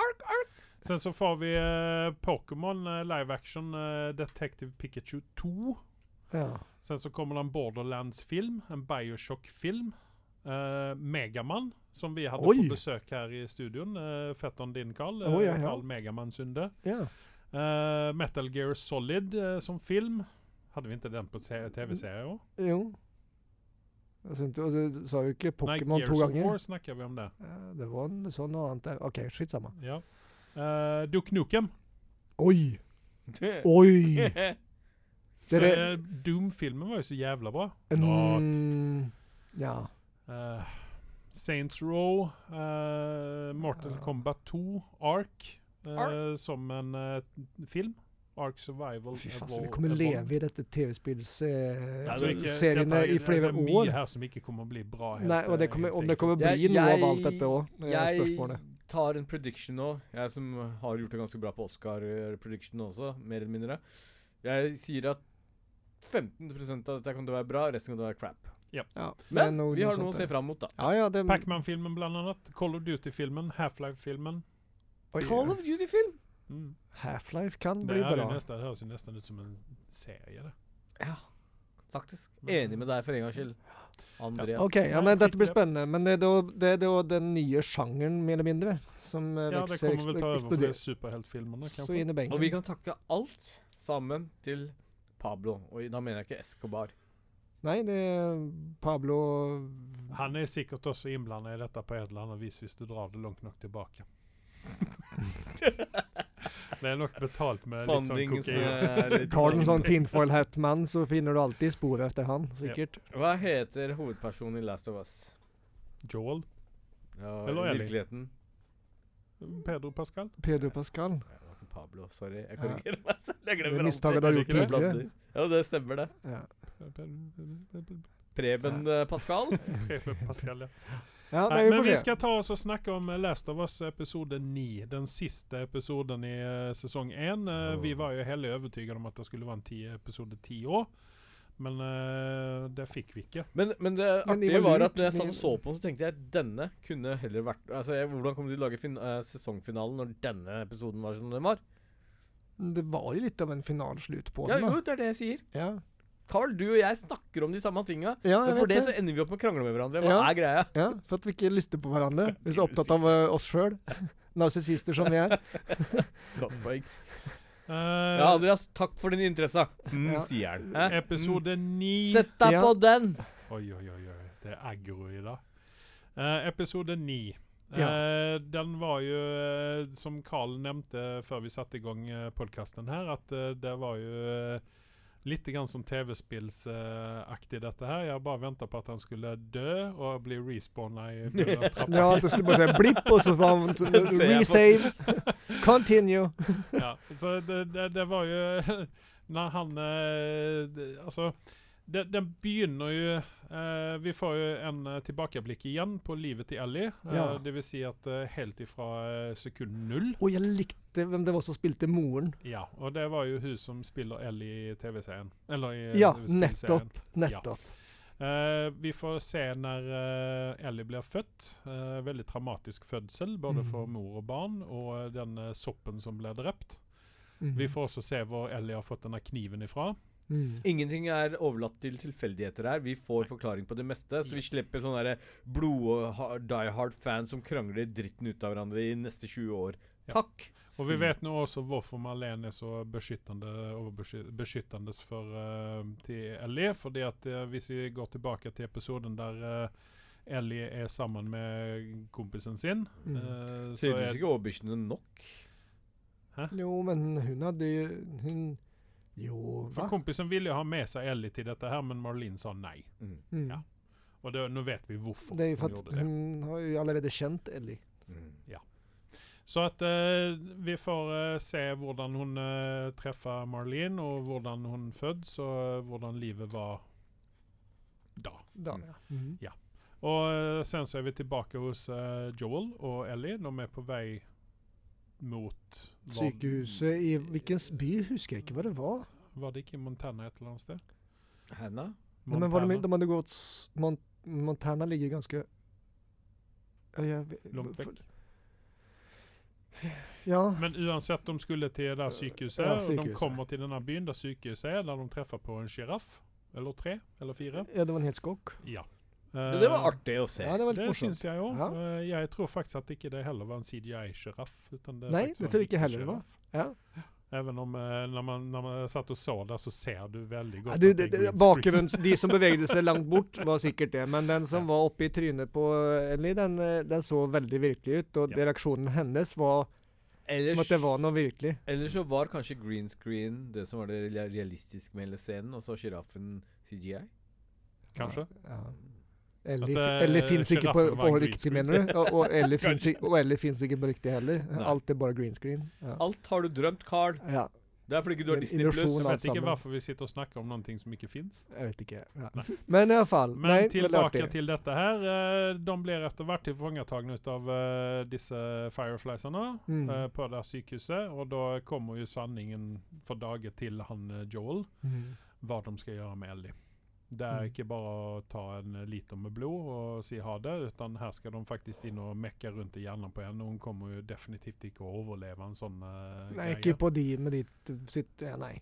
Sen så får vi eh, Pokémon eh, live action eh, Detective Pikachu 2.
Ja.
Sen så kommer det en Borderlands-film, en Bioshock-film. eh, Megaman, som vi hadde
Oj.
på besøk her i studion. Uh, Fettan din, Carl.
Oj, ja, ja.
Carl Megaman Sunde.
ja.
Eh, Metal Gear Solid eh, som film. Hadde vi ikke den på se- TV-serie òg?
Jo. Jeg synes, ikke- og du sa jo ikke Pokémon to
Gears of War
ganger.
snakker vi om det.
Ja, Det var en sånn og annet der. OK, skitt samme.
Ja. Eh, Duke Nukem.
Oi! Oi! Det er det
Eh, Doom-filmen var jo så jævla bra. Not.
mm, Ja.
Eh, Saints Row, eh, Mortal
Ja.
Kombat 2, Ark eh,
Ark.
som en eh, film. Ark Survival
Fy faen, så
Evol-
vi kommer
Evolved.
leve i dette
Jeg tror ikke-
TV-spillseriene
dette er-
eh, alltså, i flere
Det er mye
år.
her som ikke kommer å bli bra. helt,
Nei, og det
eh,
kommer,
helt
om det
enkelt.
kommer å bli
Jeg-
noe av
jeg-
alt dette òg, er
Jeg
spørsmålet.
tar en prediction nå, jeg som har gjort det ganske bra på eh, Oscar-prediction også, mer eller mindre. Jeg sier at 15 av dette kommer til å være bra, resten kommer til å være crap.
Ja, det er
Men
noe-
vi har
sånt
noe å se
der.
fram mot, da.
eh, Ja, ja, det
Pacman-filmen blant annet. Call of Duty-filmen. Half-Life-filmen.
Oi,
Call of Duty-film!
Mm.
Half-Life kan
Det,
bli
er jo
bra.
nesten, det høres jo nesten ut som en serie. Det.
Ja, faktisk. Enig med deg for en gangs skyld. Andreas.
OK,
Nei,
ja, men dette
skit i
blir
det.
spennende. Men det er da, det er da den nye sjangeren, mer eller mindre, som eh,
Ja, det
vokser
kommer vel ta over for de
eksploderer.
superheltfilmene,
Så
kanskje.
inn i
Og vi
benken.
kan takke alt sammen til Pablo. Og da mener jeg ikke Escobar.
Nei, det er Pablo
Han er sikkert også innblanda i dette på et eller annet vis, hvis du drar det langt nok tilbake. det er nok betalt med litt sånn
Funding som
kokain.
er litt
Tar du en
sånn-
sånn tinfoil hat-mann, så finner du alltid spor etter han, sikkert.
Hva heter hovedpersonen i Last of Us?
Joel.
Ja,
Eller
I
Ellie.
virkeligheten.
Pedro Pascal.
Pedro Pascal.
Nei, det var ikke Pablo. Sorry, jeg
Ja.
korrigerer meg selv. Jeg
Det er
glemmer
misstaket du har gjort
Jeg blander.
tidligere.
Ja, det stemmer, det.
Ja.
Preben eh, Pascal.
Pedro Pascal, ja.
Ja, nei,
Nei,
vi
men
får
vi
se.
skal ta oss og snakke om eh, Last of Us episode 9. Den siste episoden i eh, sesong 1. Vi var jo heller overbevist om at det skulle være en ti episode ti år, men eh, det fikk vi ikke.
Men, men det
Men de
artige
var
var
lurt,
at når jeg satt
men-
og så på den, så tenkte jeg denne kunne heller vært Altså, jeg, Hvordan kommer de til å lage fin eh, sesongfinalen når denne episoden var som den var?
Det var jo litt av en finalslutt på
Ja,
den,
jo,
da.
det er det jeg sier.
Ja,
Carl, du og jeg snakker om de samme tinga.
ja jeg
Men for
vet
det
det.
så ender vi opp med å krangle med hverandre. Hva
Ja.
er greia?
Ja, for at vi ikke lytter på hverandre. Vi er så opptatt av eh, oss sjøl. Narsissister som vi er.
Godt poeng.
Eh,
Ja, Andreas, takk for din interesse. Mm,
Ja.
sier han. Hæ? Mm.
episode ni
Sett deg
Ja.
på den!
Oi, oi, oi, oi. Det er aggro i dag. Eh, episode ni. Eh, den var ju, eh, som Carl nämnde för vi satte igång eh, podcasten här, att eh, det var ju eh, lite grann som tv-spelsaktig dette här. Jag bara väntade på att han skulle dö och bli respawnad i trappan.
Ja, att det skulle bara säga blipp och så var hon resave, continue.
Ja, så det, det, det var ju när han eh, d- Alltså, det, den begynner ju eh, Vi får ju en eh, tilbakeblick igjen på livet til Ellie.
Ja.
Eh, det vil si at eh, helt ifra eh, sekund null.
Och jag likte vem det var som spilte moren.
Ja, og det var jo hun som spiller Ellie i TV-serien. Eller i eh,
Ja,
spillserien.
nettopp. Nettopp.
Eh, vi får se når eh, Ellie blir født. Eh, veldig traumatisk fødsel, både
Mm.
for mor og barn, og eh, den eh, soppen som ble drept.
Mm.
Vi får også se hvor Ellie har fått denne kniven ifra.
Mm.
Ingenting er overlatt til tilfeldigheter her. Vi får forklaring på det meste. Så vi
Yes.
slipper sånne der blod og ha- die hard fans som krangler dritten ut av hverandre i neste 20 år.
Ja.
Takk.
Og vi vet nå også hvorfor Marlene er så beskyttende overbeskyttende for eh, til Ellie. fordi at eh, hvis vi går tilbake til episoden der eh, Ellie er sammen med kompisen sin
Mm.
eh, så
Tydeligvis
er,
ikke overbeskyttende nok.
Jo, men hon hade ju... Hon... Jo,
For
va?
kompisen ville jo ha med seg Ellie til dette, her, men Marlene sa nei.
Mm.
Ja. Og det, nå vet vi hvorfor
Det är ju
hun
för att
gjorde det.
hon har ju allerede känt Ellie.
mm.
Så at eh, vi får eh, se hvordan hun eh, treffer Marlene, og hvordan hun føddes, og eh, hvordan livet var da.
Da.
Mm.
Mm.
Og eh, sen så er vi tilbake hos eh, Joel og Ellie. De er på vei mot hva-
Sykehuset i vilken by huskar jag inte vad det var.
Var det ikke i Montana et eller annet sted?
Hannah?
Nej, men var de,
Montana.
de hade gått... s- Mon Montana ligger ju ganska... Ja, jag vet-
Långt vekk.
Ja.
Men uansett, de skulle til det der sykehuset,
Eh, Ja,
og de
sykehuset.
kommer til denne byen der sykehuset er, der de treffer på en sjiraff. Eller tre, eller fire.
Ja, det var en hel skokk.
Ja.
Ja, det var
Eh,
artig å se.
Ja, det var litt
Det
morsomt.
syns jeg òg.
Ja.
Jeg tror faktisk at ikke det heller var en CGI-sjiraff.
Nei, det tror jeg ikke heller det var. Ja.
Even om eh, når, man, når man satt og så der, så ser du veldig godt
Ja, du,
at
det,
er
det,
green screen.
bakgrunnen, de som bevegde seg langt bort, var sikkert det. Men den som var oppe i trynet på Ellie, den, eh, den så veldig virkelig ut. Og
Ja.
det- reaksjonen hennes var som at det
Ellers,
var noe virkelig.
ellers så var kanskje green screen det som var det rea- realistiske med hele scenen, og så sjiraffen CGI.
Kanskje.
Ja. Ellie,
At, eh,
Ellie fins ikke på,
sjiraffen var
på
en green
riktig,
screen.
mener du? Og, og Ellie fins
Kanskje.
ikke- og Ellie fins ikke på riktig heller.
Nei.
Alt er bare green screen. Ja.
Alt har du drømt, Carl.
ja.
Det er fordi ikke du har
En
Disney
Jeg
illusjon, da.
pluss.
alt
vet ikke
sammen.
hvorfor vi sitter og snakker om noe som ikke fins.
Jeg vet ikke. Ja. Men i alle fall.
Men
nei, veldig
tilbake
artig.
til dette her. eh, De blir etter hvert tilfangetagnet av eh, disse Firefliesene
Mm.
eh, på det her sykehuset, og da kommer jo sanningen for dage til han eh, Joel.
Mm.
hva de skal gjøre med Ellie. Det er
Mm.
ikke bare å ta en liter med blod og si ha det, utan her skal de faktisk inn og mekke rundt i hjernen på henne. Hun kommer jo definitivt ikke å overleve en sånn eh,
Nei,
greie.
ikke på de med ditt eh, sitt ja, Nei.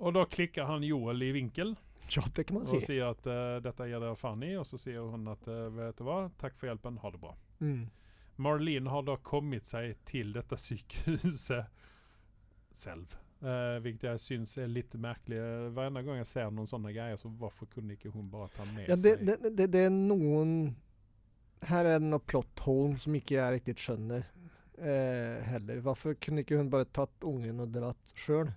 Og da klikker han Joel i vinkel
Ja, det kan man
og
si.
sier at eh, dette gir dere faen i, og så sier hun at eh, vet du hva, takk for hjelpen, ha det bra.
Mm.
Marlene har da kommet seg til dette sykehuset selv. Eh, hvilket jeg syns er litt merkelig. Hver eneste gang jeg ser noen sånne greier, så hvorfor kunne ikke hun bare ta med
Ja, det,
seg
det, det, det er noen Her er det noe plot hole som ikke jeg riktig skjønner eh, heller. Hvorfor kunne ikke hun bare tatt ungen og dratt sjøl?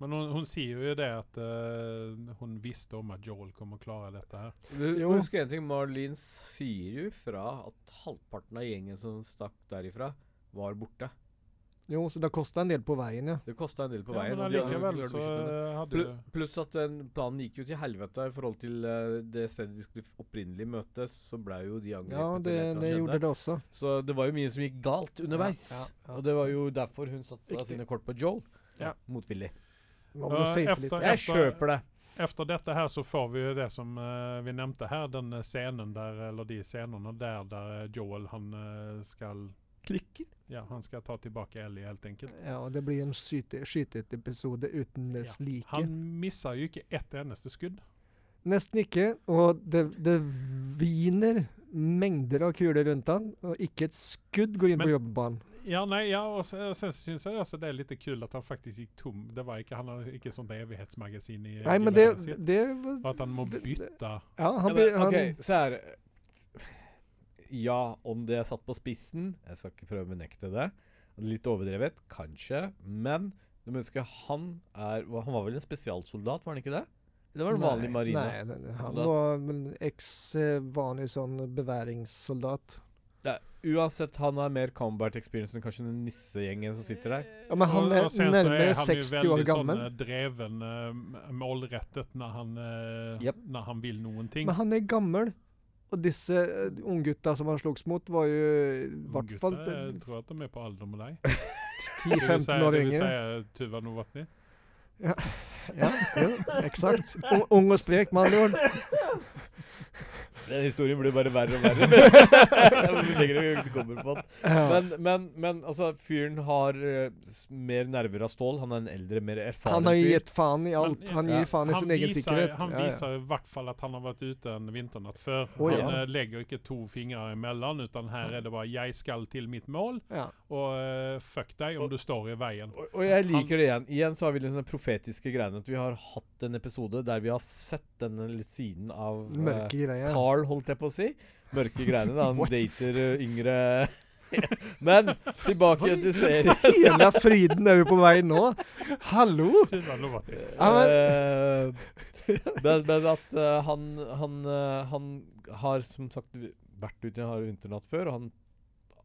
Men hun, hun sier jo det at eh, hun visste om at Joel kom å klare dette her.
Jo.
Husk en ting, Marlene sier jo fra at halvparten av gjengen som stakk derifra, var borte.
Jo, så det kosta en del på veien, ja.
Det kosta en del på
Ja,
veien.
men
og de hadde jo
allikevel
ikke klart å
så
beskytte henne.
eh, hadde
Plu-
du
Pluss at den planen gikk jo til helvete i forhold til eh, det stedet de skulle f- opprinnelig møtes, så ble jo de angrepet.
Ja, det, det gjorde det også.
Så det var jo mye som gikk galt underveis.
Ja, ja, ja.
Og det var jo derfor hun satsa
Riktig.
sine kort på Joel.
Ja.
Motvillig.
Må man
Eh,
safe
efter-
litt.
Ja,
Jeg
så-
kjøper det.
Efter dette her så får vi jo det som eh, vi nevnte her, den eh, scenen der, eller de scenene der der eh, Joel han eh, skal
Klikker.
Ja, han skal ta tilbake Ellie, helt enkelt.
Ja, og det blir en skyte- skyteepisode uten dess like.
Han misser jo ikke ett eneste skudd.
Nesten ikke. Og det, det hviner mengder av kuler rundt han, og ikke et skudd går inn
Men-
på jobbebanen.
Ja, nej, ja, och sen, och sen så syns jag också det är lite kul att han faktiskt gick tom. Det var ikke, han hade inte sånt evighetsmagasin i
Nej men det,
gillarmagasinet.
det är väl-
Och att han må
det- det-
byta.
Ja, han,
ja,
blir-
men,
han
ok, så her Ja, om det er satt på spissen Jeg skal ikke prøve å benekte det. Litt overdrevet, kanskje. Men du må huske, han er hva- Han var vel en spesialsoldat, var han ikke det? Eller var det en vanlig
Nei,
marine?
Nei, nei, nei, han
Soldat.
var vel ex eh, vanlig sånn beværingssoldat.
Det er, uansett, han har mer combat experience enn kanskje den nissegjengen som sitter der.
Ja, men han
Og-
er
og sen så er
nærmere
han jo
60 år
veldig
gammel.
Sånn, eh, dreven eh, målrettet når han, eh,
Jep.
når han vil noen ting.
Men han er gammel. Og disse eh, unggutta som han slogs mot, var jo i hvert fall
Unggutter,
eh,
jeg tror at de er på alder med deg. Det vil si-
10-15 år
det vil
yngre.
si, eh, Tuva Novotny.
Ja, jo, eksakt. Ung, ung og sprek, med andre ord.
Den historien blir bare verre og verre. men- Lenger vi kommer på den.
Ja.
Men, men, men altså, fyren har eh, s- mer nerver av stål. Han er en eldre, mer erfaren
Han har jo
fyr.
gitt faen i alt.
Men,
Han
ja,
gir faen i sin egen
visar-
sikkerhet.
Han
Ja, ja.
visar i hvert fall at han har vært ute en vinternatt før.
Å,
han
yes.
eh, legger ikke to fingre imellom, utan her er det bare 'jeg skal til mitt mål',
Ja.
og eh, 'fuck deg om du står i veien'.
Og, og jeg liker det igjen. Igjen så har vi liksom den profetiske greiene at vi har hatt en episode der vi har sett denne litt siden av eh,
Mørke greier.
Carl, holdt jeg på å si. Mørke greiene. da Han
What?
dater eh, yngre Men tilbake til serien.
Hele fryden er jo på vei nå. Hallo!
Tuva Novotny.
Ja, men-
Eh, men, men at eh, han, han, eh, han har som sagt vært ute i en hard vinternatt før, og han,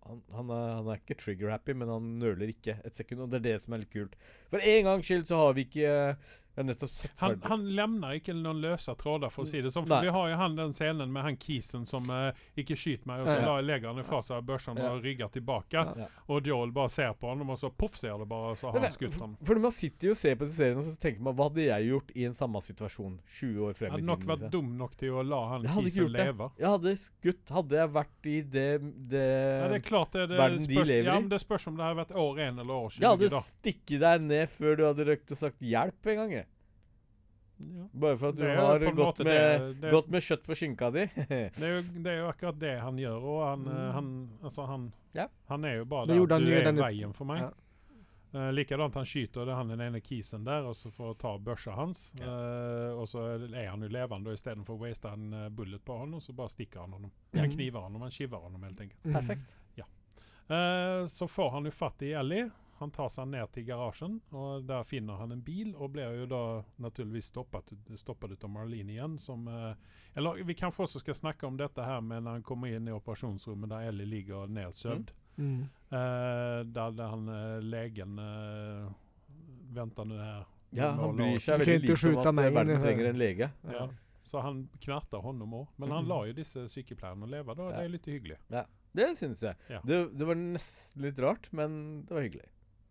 han, han, er, han er ikke trigger-happy, men han nøler ikke et sekund, og det er det som er litt kult. For en gangs skyld så har vi ikke eh, Jeg har nettopp sett
Han,
ferdig-
han lämnar ikke noen løse tråder, for å si det sånn.
Nei.
For vi har jo han den scenen med han kisen som eh, ikke skyter meg, og så
Ja.
la- legger han ifra seg børsen
Ja.
og rygger tilbake.
Ja.
Og Joel bare ser på ham, og så poff, ser det bare, og så
Men
har han
det-
skutt ham.
For man sitter jo og ser på disse seriene og så tenker man, hva hadde jeg gjort i en samme situasjon 20 år frem i
Hadde
tiden?
nok vært
liksom?
dum nok til å la han
Jeg hadde ikke
kisen
gjort det. Eh,
leve.
Jeg hadde skutt. Hadde jeg vært i det, det,
Ja, det er klart det, det,
verden de
spørs,
lever
ja,
i.
men det spørs om det har vært år 1 eller år 20.
Jeg hadde
da.
stikket deg ned før du hadde røkt og sagt 'hjelp' en gang. jeg.
Ja.
Bare for at du
Det er jo
har
på en
gått
måte
med,
det- det-
gått med kjøtt på skinka di.
Det, er jo, det er jo akkurat det han gjør, og han, eh, han, altså han,
Mm. Ja.
han er jo bare
Det
der.
gjorde han
Du
jo i
er
denne-
veien for meg.
Ja.
Eh, likadant, han skyter det er han den ene kisen der, og så får ta børsa hans. eh, og så er han jo levende, og istedenfor å waste en eh, bullet på han, og så bare stikker han honom. Han kniver honom, han kiver honom, helt enkelt.
Mm. Perfekt.
Eh, så får han jo fatt i Ellie. Han tar seg ned til garasjen, og der finner han en bil, og blir jo da naturligvis stoppet, stoppet ut av Marlene igjen, som eh, Eller vi kanskje også skal snakke om dette her med når han kommer inn i operasjonsrommet der Ellie ligger nedsøvd.
Mm.
Eh, der der han eh, legen eh, Venter nå her.
Ja,
Nå
han
la
bryr
oss-
seg
Du kan
veldig
ikke
lite om at
skyte
eh,
meg inn i
verden
hø-
trenger en lege.
Ja. Så han knerter honom òg. Men han
Mhm.
lar jo disse sykepleierne leve, da.
Ja.
Det er litt hyggelig.
Det syns jeg.
Ja.
Det, det var nesten litt rart, men det var hyggelig.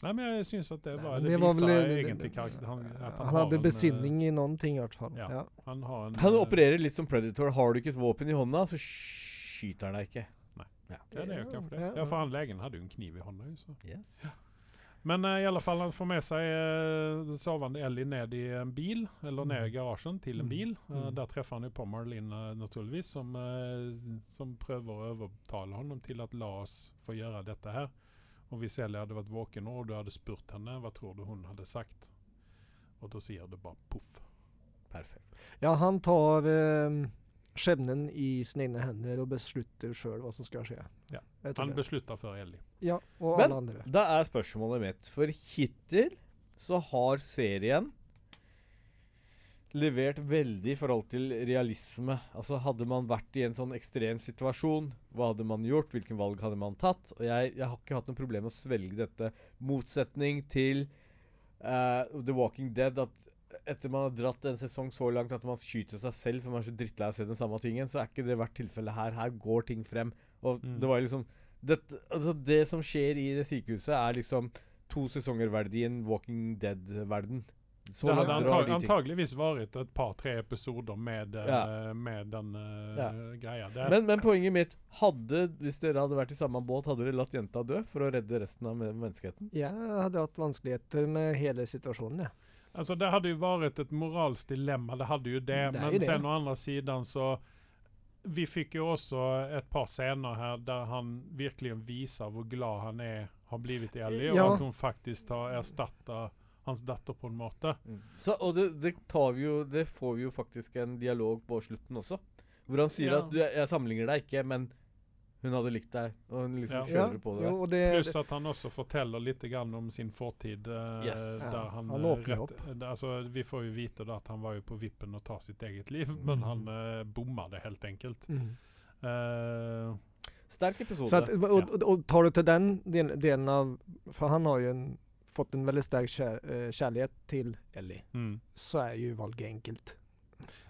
Nei, men jeg syns at det,
Nei,
var,
men
det,
det var
viser
vel- det-
egentlig
det-
karakter... Han, at han har
Han
en,
hadde
eh,
besinning i noen ting, i hvert fall.
ja.
Ja.
Han har en
Han
eh,
opererer litt som Predator. Har du ikke et våpen i hånda, så skyter han deg ikke.
Ja, det er jo kanskje det.
Ja,
Ja, for
ja.
han legen hadde jo en kniv i hånda. jo, Så.
Yes.
Men eh, i alle fall, han får med seg eh, den sovende Ellie ned i en bil, eller ned i garasjen til en
Mm.
bil. Eh,
Mm.
der treffer han jo på Marlene, eh, naturligvis, som, eh, s- som prøver å overtale ham til å la oss få gjøre dette her. Og hvis Ellie hadde vært våken nå, og du hadde spurt henne, hva tror du hun hadde sagt? Og da sier det bare poff.
Perfekt.
Ja, han tar eh, skjebnen i sine egne hender og beslutter sjøl hva som skal skje.
Ja.
Jeg tror
Han
det.
beslutter for Ellie.
Ja, og
Men-
alle andre.
Da er spørsmålet mitt, for hittil så har serien levert veldig i forhold til realisme. Altså Hadde man vært i en sånn ekstrem situasjon, hva hadde man gjort? Hvilken valg hadde man tatt? Og jeg, jeg har ikke hatt noe problem med å svelge dette. Motsetning til eh, The Walking Dead. At etter man har dratt en sesong så langt at man skyter seg selv for man er så drittlei av å se den samme tingen, så er ikke det hvert tilfelle her. Her går ting frem. Og
Mm.
det var jo liksom dette, altså Det som skjer i det sykehuset, er liksom to sesonger verdig i en Walking Dead-verden. Så
Det
langt
hadde
drar
antag
de ting.
antageligvis vært et par-tre episoder med, eh,
Ja.
med den eh,
Ja.
greia. Det,
Men, men poenget mitt hadde, Hvis dere hadde vært i samme båt, hadde dere latt jenta dø for å redde resten av men- menneskeheten?
Jeg hadde hatt vanskeligheter med hele situasjonen, jeg.
Alltså det hade ju varit ett moralskt dilemma, det hade ju det.
är
men
ju Mm, det.
sen å andra sidan så vi fick ju också ett par scener här där han verkligen visar hur glad han är har blivit ärlig och
Eh, Ja.
att hon faktiskt har erstattat hans datter på en
Eh,
måte.
Så, og det, det, tar vi jo, det får vi jo faktisk en dialog på slutten også. Hvor han sier
Ja.
at du, 'jeg sammenligner deg ikke, men hun hadde likt deg'. Og hun liksom
Ja.
Ja,
kjører på det.
jo,
der.
og det,
Plus att han också fortäller lite grann om sin fortid. eh,
Yes.
Där
Ja,
han,
han
eh,
åpner
rätt, alltså, vi får ju vita då att han var ju på vippen att ta sitt eget liv. Men han eh, bommade helt enkelt.
mm.
Eh,
Sterk episode.
Så att, och, och, och tar du till den del- delen av, för han har ju en, fått en väldigt stark kär, eh, kärlek till Ellie,
mm.
så är ju valget enkelt.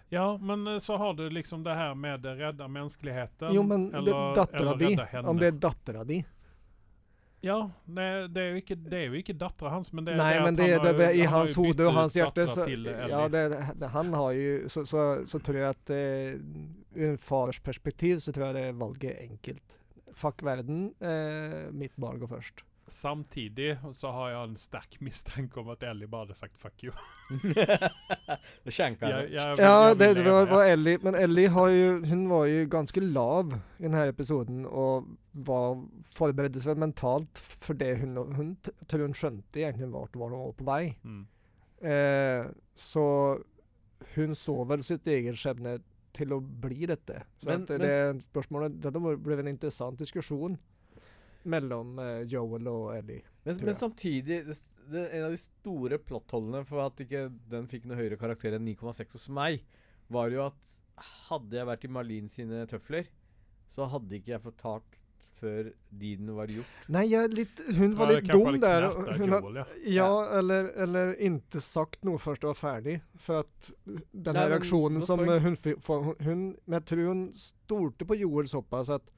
Ja, men eh, så har du liksom det här med eh, rädda mänskligheten.
jo men det, datter av de,
rädda henne.
om det är datter av de.
Ja, nej, det är ju inte, det är ju inte datter hans, men det är
Nej
det
men
att
det,
han har
det,
ju-
det i
han har
hans
ju
hode
bytt
och
ut
hans hjärta
dattrar
så,
till Ellie.
ja, det, det, han har ju, så, så, så tror jag att eh, ur en fars perspektiv så tror jag det är valget enkelt. Fuck världen, eh, mitt barn går först.
Samtidigt så har jag en stark misstanke om att Ellie bara hade sagt 'fuck you'.
det skjenka
Jag-
henne.
jag vill-
Ja,
jag vill
det,
leva,
var,
ja.
var Ellie. Men Ellie har ju, hon var ju ganska lav i den här episoden och var, förberedde sig mentalt för det hon, hon t- tror hon skönte egentligen vart var hon var på väg.
Mm.
Eh, så hon såg väl sitt eget skämne till att bli detta. Så
Men-
att det,
men s-
det spörsmålet, det då blev en intressant diskussion mellan eh, Joel och Ellie.
Men,
tror
men
jeg.
samtidig, det, s- det, en av de store plottholdene for at ikke den fikk noe høyere karakter enn 9,6 hos meg, var jo at hadde jeg vært i Marlin sine tøfler, så hadde ikke jeg fortalt før deeden var gjort.
Nej, jag är lite, hon var
Ja, det
lite
kanske var
dum
lite
där.
knäppt
och
där,
Hon,
Joel, ja.
Ja, eller, eller inte sagt nog först det var färdig. För att den
Nej, men
här reaktionen
något
som
poäng.
eh, hon fick, får- hon, hon, men jag tror hon stolte på Joel så pass att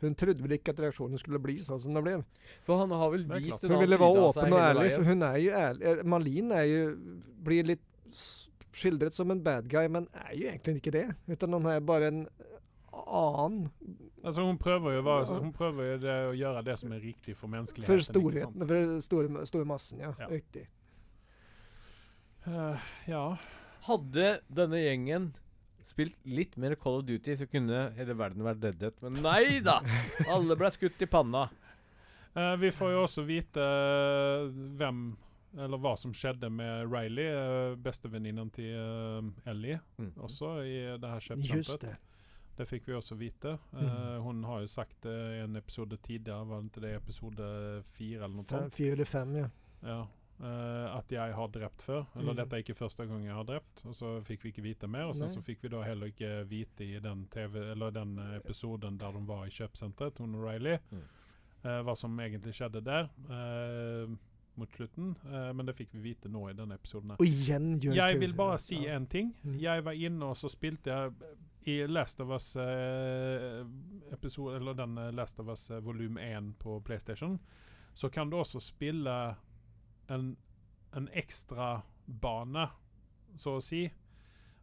hon trodde väl inte att reaktionen skulle bli så som den blev.
For han har vel
Det er klart.
vist en
Hon ville
annen side
vara
av seg
öppen och
hele
ärlig, för
veien.
hon är ju ärlig. Eh, Malin är ju, blir lite s- skildrat som en bad guy, men är ju egentligen inte det. Utan hon är bara en an
Alltså hon prövar ju, vara,
Ja.
hon prövar ju det, att göra det som är riktigt för mänskligheten. liksom.
för
inte
storheten,
sant?
för stor, stor massan, ja.
Ja.
Riktigt.
Eh, ja,
Hadde denne gjengen spilt litt mer Call of Duty, så kunne hele verden vært reddet. Men nei da! Alle ble skutt i panna.
Eh, vi får ju också veta eh, vem eller vad som skedde med Riley, eh, bästa väninnan till eh, Ellie,
Mm.
också i det här
Just
köpcampet.
det.
Det fick vi också veta. Eh,
Mm.
hon har ju sagt eh, en episod tidigere, var det inte det episod eh, fyra eller något
Fem,
sånt?
fyra eller fem, ja.
Ja. Eh, att jag har drept för. Eller
Mm.
detta är inte första gången jag har drept. Och så fick vi inte veta mer. Och sen
Nej.
så fick vi då heller inte veta i den tv, eller den eh, episoden där de var i köpcentret, hon och Riley.
Mm.
Eh, vad som egentligen skedde där. Eh, mot slutten. Eh, men det fick vi veta nå i den episoden. här.
Och igen gör
Jag
tusen,
vill bara
ja.
si en ting.
Mm.
Jag var inne och så spilte jag i Last of Us eh, episod, eller den eh, Last of Us eh, volym 1 på Playstation. Så kan du också spela en, en extra bana, så att säga.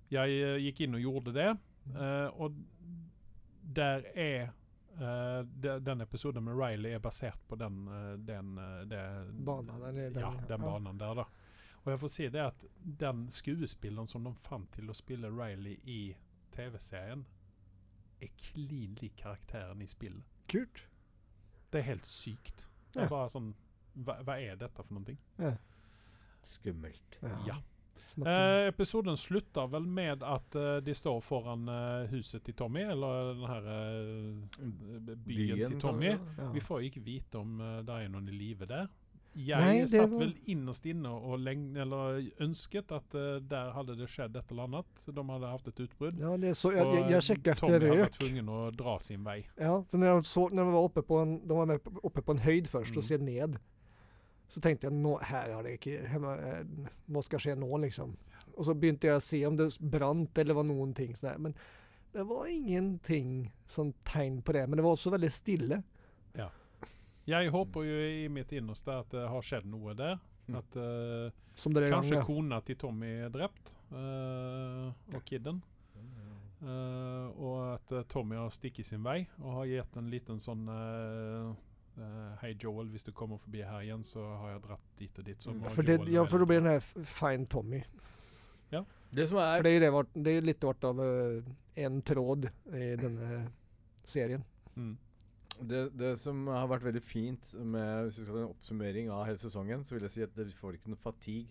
Jag eh, gick in och gjorde det.
Mm.
Eh, och där är eh, de, den episoden med Riley är baserat på den, eh, den, eh, det-
Banan, eller den-
ja, den
ja.
banan där då. Och jag får se det att den skuespilleren som de fant till att spela Riley i tv-serien är clean lik karaktären i spillet.
Kult.
Det är helt sykt. Det
Ja.
är bara sån, va, vad är detta för någonting?
Skummelt.
Ja.
Smattade.
Eh, episoden slutar väl med att eh, de står föran eh, huset till Tommy, eller den här eh, b- byen, till Tommy.
kanskje?
Mm. ja.
Vi får ikke vite om uh, det er noen i live der. Jeg
Nei, det
satt
var-
vel innerst inne og leng eller ønsket at eh, der hadde det skjedd et eller annet. De hadde hatt et utbrudd.
ja, det är så,
Og,
jag, jag,
eh,
jag checkade efter
Tommy hadde vært
rök.
tvungen å dra sin vei.
Ja, för när, jag såg, när de var uppe på en, de var med på- uppe på en höjd först
Mm.
och ser ned. Så tänkte jag, nå, här har det, inte- hemma, eh, vad ska ske nå liksom? Och så började jag se om det brant eller var någonting sådär. Men det var ingenting som tegn på det, men det var så väldigt stille.
Jeg håper jo i mitt innerste at det har skjedd noe der.
Mm.
At eh,
Som det där
kanskje
gången.
kona til Tommy er drept, eh, og kidden. Eh, og at eh, Tommy har stukket sin vei og har gitt en liten sånn eh, eh, Hei, Joel, hvis du kommer forbi her igjen, så har jeg dratt dit og dit. Så
Mm.
må
För det,
Joel
ja, för då blir
redde
den här f- Fine Tommy.
Det som
För
er
det är ju det, vart, det är lite vart av eh, en tråd i den här serien.
Mm.
Det, det som har vært veldig fint med hvis vi skal ta en oppsummering av hele sesongen, så vil jeg si at det- vi får ikke noe fatigue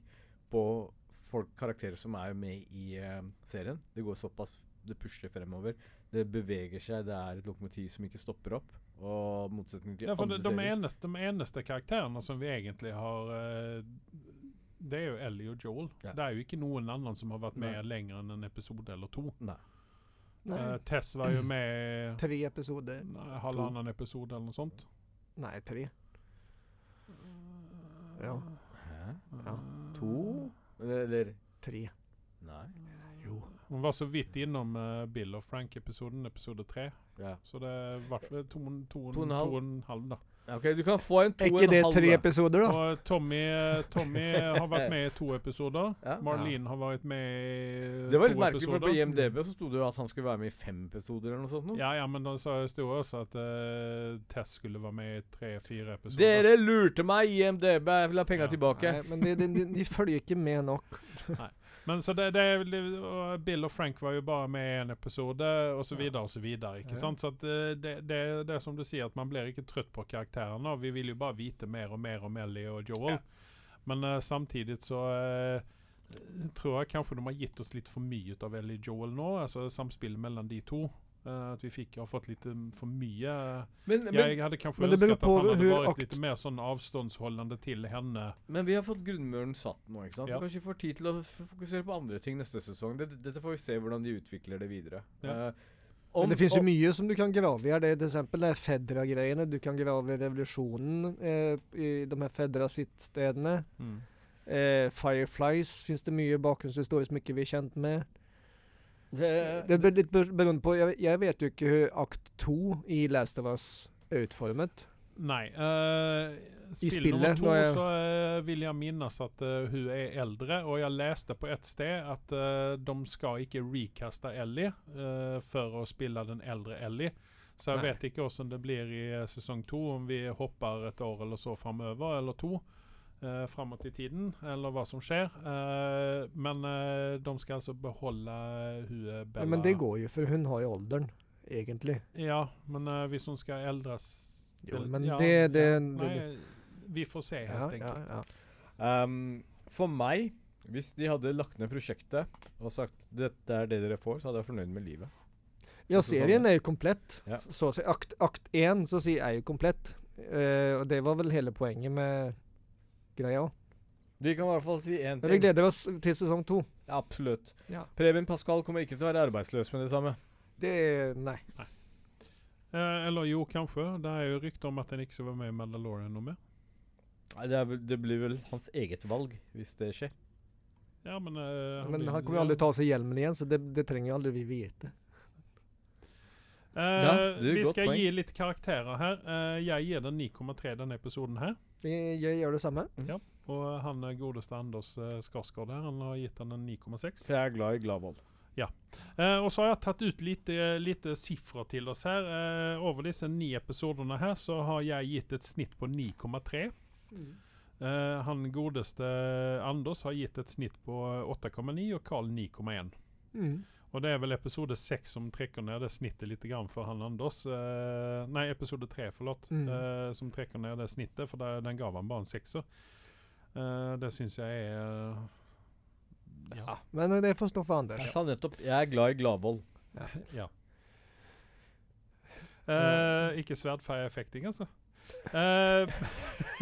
på folk, karakterer som er med i eh, serien. Det går såpass Det pusher fremover. Det beveger seg. Det er et lokomotiv som ikke stopper opp. Og motsetning til
Ja, for de,
andre
de,
serier.
eneste, de eneste karakterene som vi egentlig har eh, Det er jo Ellie og Joel.
Ja.
Det er jo ikke noen annen som har vært med
Nei.
lenger enn en episode eller to.
Nei.
Nei,
Eh, Tess var jo med
tre episoder.
nei, halvannen episode eller noe sånt.
Nej, tre. Ja,
Hæ?
ja,
To? Eller
tre.
Nei.
Jo.
Hun var så vidt innom eh, Bill og Frank-episoden, episode tre.
Ja.
Så det er i hvert fall to, to,
To og
to
en halv.
og en halv, da.
Ja, OK, du kan få en to
Är
og
inte
en
det
halv.
tre
da.
episoder då?
Og Tommy, eh, Tommy har vært med i to episoder.
Ja.
Marlene har vært med i
Det var litt
to
merkelig, for på
episoder. Mm.
IMDb så sto det jo at han skulle være med i fem episoder eller noe sånt. Noe.
Ja, ja, men de sa- sto også at eh, Tess skulle være med i tre-fire episoder.
Dere lurte meg, IMDb! Jeg vil ha penga
Ja.
tilbake.
Nej, men det, det, ni, ni följer inte med nog.
Men så det, det, er vel- og Bill og Frank var jo bare med i en episode, og så
Ja.
videre og så videre. ikke
Ja.
sant? Så at eh, det, det, det er som du sier, at man blir ikke trøtt på karakterene. og Vi vil jo bare vite mer og mer om Ellie og Joel. Men eh, samtidig så eh, tror jeg kanskje de har gitt oss litt for mye av Ellie og Joel nå. altså Samspillet mellom de to. Eh, at vi fikk har fått litt eh, for mye.
Men, men,
Jeg hadde kanskje
men det beror
ønsket at
på
han hadde
hur
vært
akt-
litt mer sånn avståndsholdende til henne.
men vi har fått grunnmuren satt nå, ikke sant? så
Ja.
kanskje vi får tid til å f- fokusere på andre ting neste sesong. Dette, dette får vi se hvordan de utvikler det videre.
Ja.
Eh,
Men det finns ju
om-
mycket som du kan grava i. här. Det är till exempel den här Fedra-grejen. Du kan grava i revolutionen eh, i de här Fedra-sittstäderna. Eh, Fireflies finns det mycket bakgrundshistoriskt, mycket vi är känt med. Det är lite ber- beroende på, jag, jag vet ju inte hur akt 2 i Last of Us är utformat.
Nei. eh, spill
spillet,
nummer to
nå er-
så eh, vil jeg minnes at eh, hun er eldre, og jeg leste på et sted at eh, de skal ikke recaste Ellie eh, for å spille den eldre Ellie. Så jeg
Nei.
vet ikke hvordan det blir i eh, sesong to, om vi hopper et år eller så framover, eller to. Uh, framåt i tiden, eller hva som skjer. Eh, men eh, de skal altså beholde hun eh, Bella.
Ja, men det går ju för hon har ju åldern egentligen.
Ja, men eh, hvis hun skal eldres
Jo,
vel-
men det- det-
Nei, vi får se,
Ja,
helt
ja,
enkelt.
ja.
Ehm, for meg, hvis de hadde lagt ned prosjektet og sagt dette er det dere får, så hadde jeg vært fornøyd med livet.
Ja,
Alltså,
serien
sånn-
är ju komplett.
Ja.
Så, så, akt, akt 1 så si, är ju komplett. Eh, och det var väl hela poängen med grejen. också.
Vi kan i hvert fall si én
Men vi
ting.
gläder oss till säsong 2.
Absolutt.
Ja.
Preben Pascal kommer ikke til å være arbeidsløs med det samme.
Det, nej.
Eh, eller jo, kanskje. Det er jo rykter om at den ikke skal være med i Mandalorian noe mer.
Nei, det, er vel, det blir vel hans eget valg, hvis det skjer.
Ja, men, eh,
Men
blir-
han kommer ju aldrig ta sig hjälmen igen så det, det tränger ju aldrig vi veta.
Eh,
Ja, det er
vi
godt
skal
poeng.
gi litt karakterer her. Eh, jeg gir den 9,3 denne episoden her.
Det- Jag gör detsamma.
Og han eh, godeste Anders eh, Skarsgård her, han har gitt den en 9,6.
Så jeg er glad i Gladvold.
Eh, og så har jeg tatt ut litt, eh, litt sifre til oss her. Eh, over disse ni episodene her så har jeg gitt et snitt på 9,3. Eh, han godeste Anders har gitt et snitt på 8,9 og Carl 9,1.
Mm.
Og det er vel episode seks som trekker ned det snittet litt grann for han Anders. Eh, nei, episode tre, forlåt.
Mm.
eh, som trekker ned det snittet, for der, den gav han bare en sekser. Eh, det syns jeg er
Ja. Men eh, det får stå för Anders.
Jeg sa nettopp jeg er glad i Gladvold.
Ja. Eh, ikke sverdfeieeffekting, altså. Eh,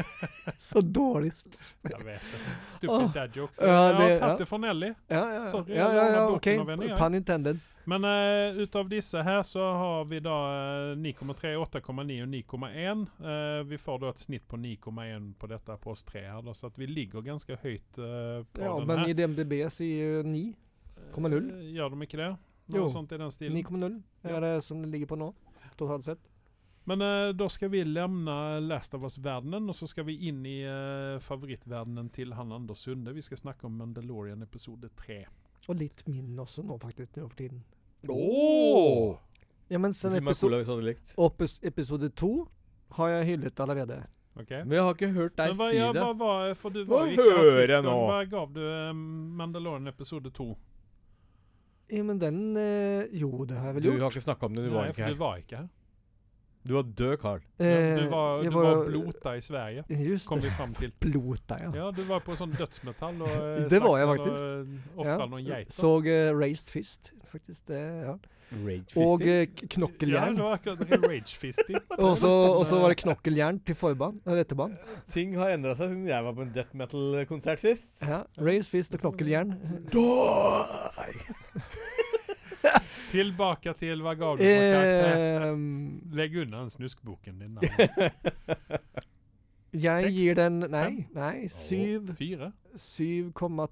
Så dårligt.
jeg vet det. Stupid
Åh.
dad jokes.
Ja,
jeg har
det- ja.
tatt det fra Nelly.
Ja, ja,
Sorry,
ja,
jag
ja,
lånar
ja
boken
okej.
av en, ja.
Pun intended.
Men eh, utav disse her så har vi da eh, 9,3, 8,9 og 9,1. Eh, vi får da et snitt på 9,1 på dette på oss tre her, da, så at vi ligger ganske høyt eh, på
Ja,
den
men
her.
i DMDB säger ju 9. kommer null.
Eh, Gjør de ikke det? Noe
Jo.
sånt i den stilen.
9,0 är det som det ligger på nu. Totalt sett.
Men eh, da skal vi lämna Last of Us-verdenen, og så skal vi inn i eh, favorittverdenen til han Anders Sunde. Vi skal snakke om Mandalorian episode 3.
Och lite min också nu faktiskt nu för tiden.
Oh!
Ja, men sen
Med
episode
cola hvis du hadde likt.
Opus episode 2 har jeg hyllet allerede.
Ok?
Men jeg har ikke hørt deg
Men hva,
si
ja,
det.
hva, var- for du
Få
var jo ikke her
høre
sist gang.
nå.
Hva gav du eh, Mandalorian episode 2?
Ja, men den eh, Jo, det har jeg vel
Du
gjort.
har ikke snakka om det, du var
Nei,
ikke
for
her.
du var ikke her.
Du var død, Carl.
Ja, du
Eh,
var, du
jag
var blota i Sverige,
Just
kom
det,
vi fram till.
blota ja.
Ja, du var på sån dödsmetall och eh,
Det var jag
slaktade
faktiskt.
och, eh, offrade
Ja.
någon geit.
Såg eh, Raised Fist faktiskt. Det, ja. Och
Ragefisting.
eh, k-
Ja,
knockeljärn.
det var liksom, akkurat ragefisting.
og, så, og så var
eh,
det knokkeljern til eh, forband, eller etterband.
Ting har endra seg siden jeg var på en death metal-konsert sist.
Ja. Raised Fist og knokkeljern.
Tillbaka till vad gav du
Eh.
för karaktär?
Ehm,
Lägg undan snuskboken din.
jeg
Seks?
gir den Nei, nei syv-
Fyra?
7,2.
Faen,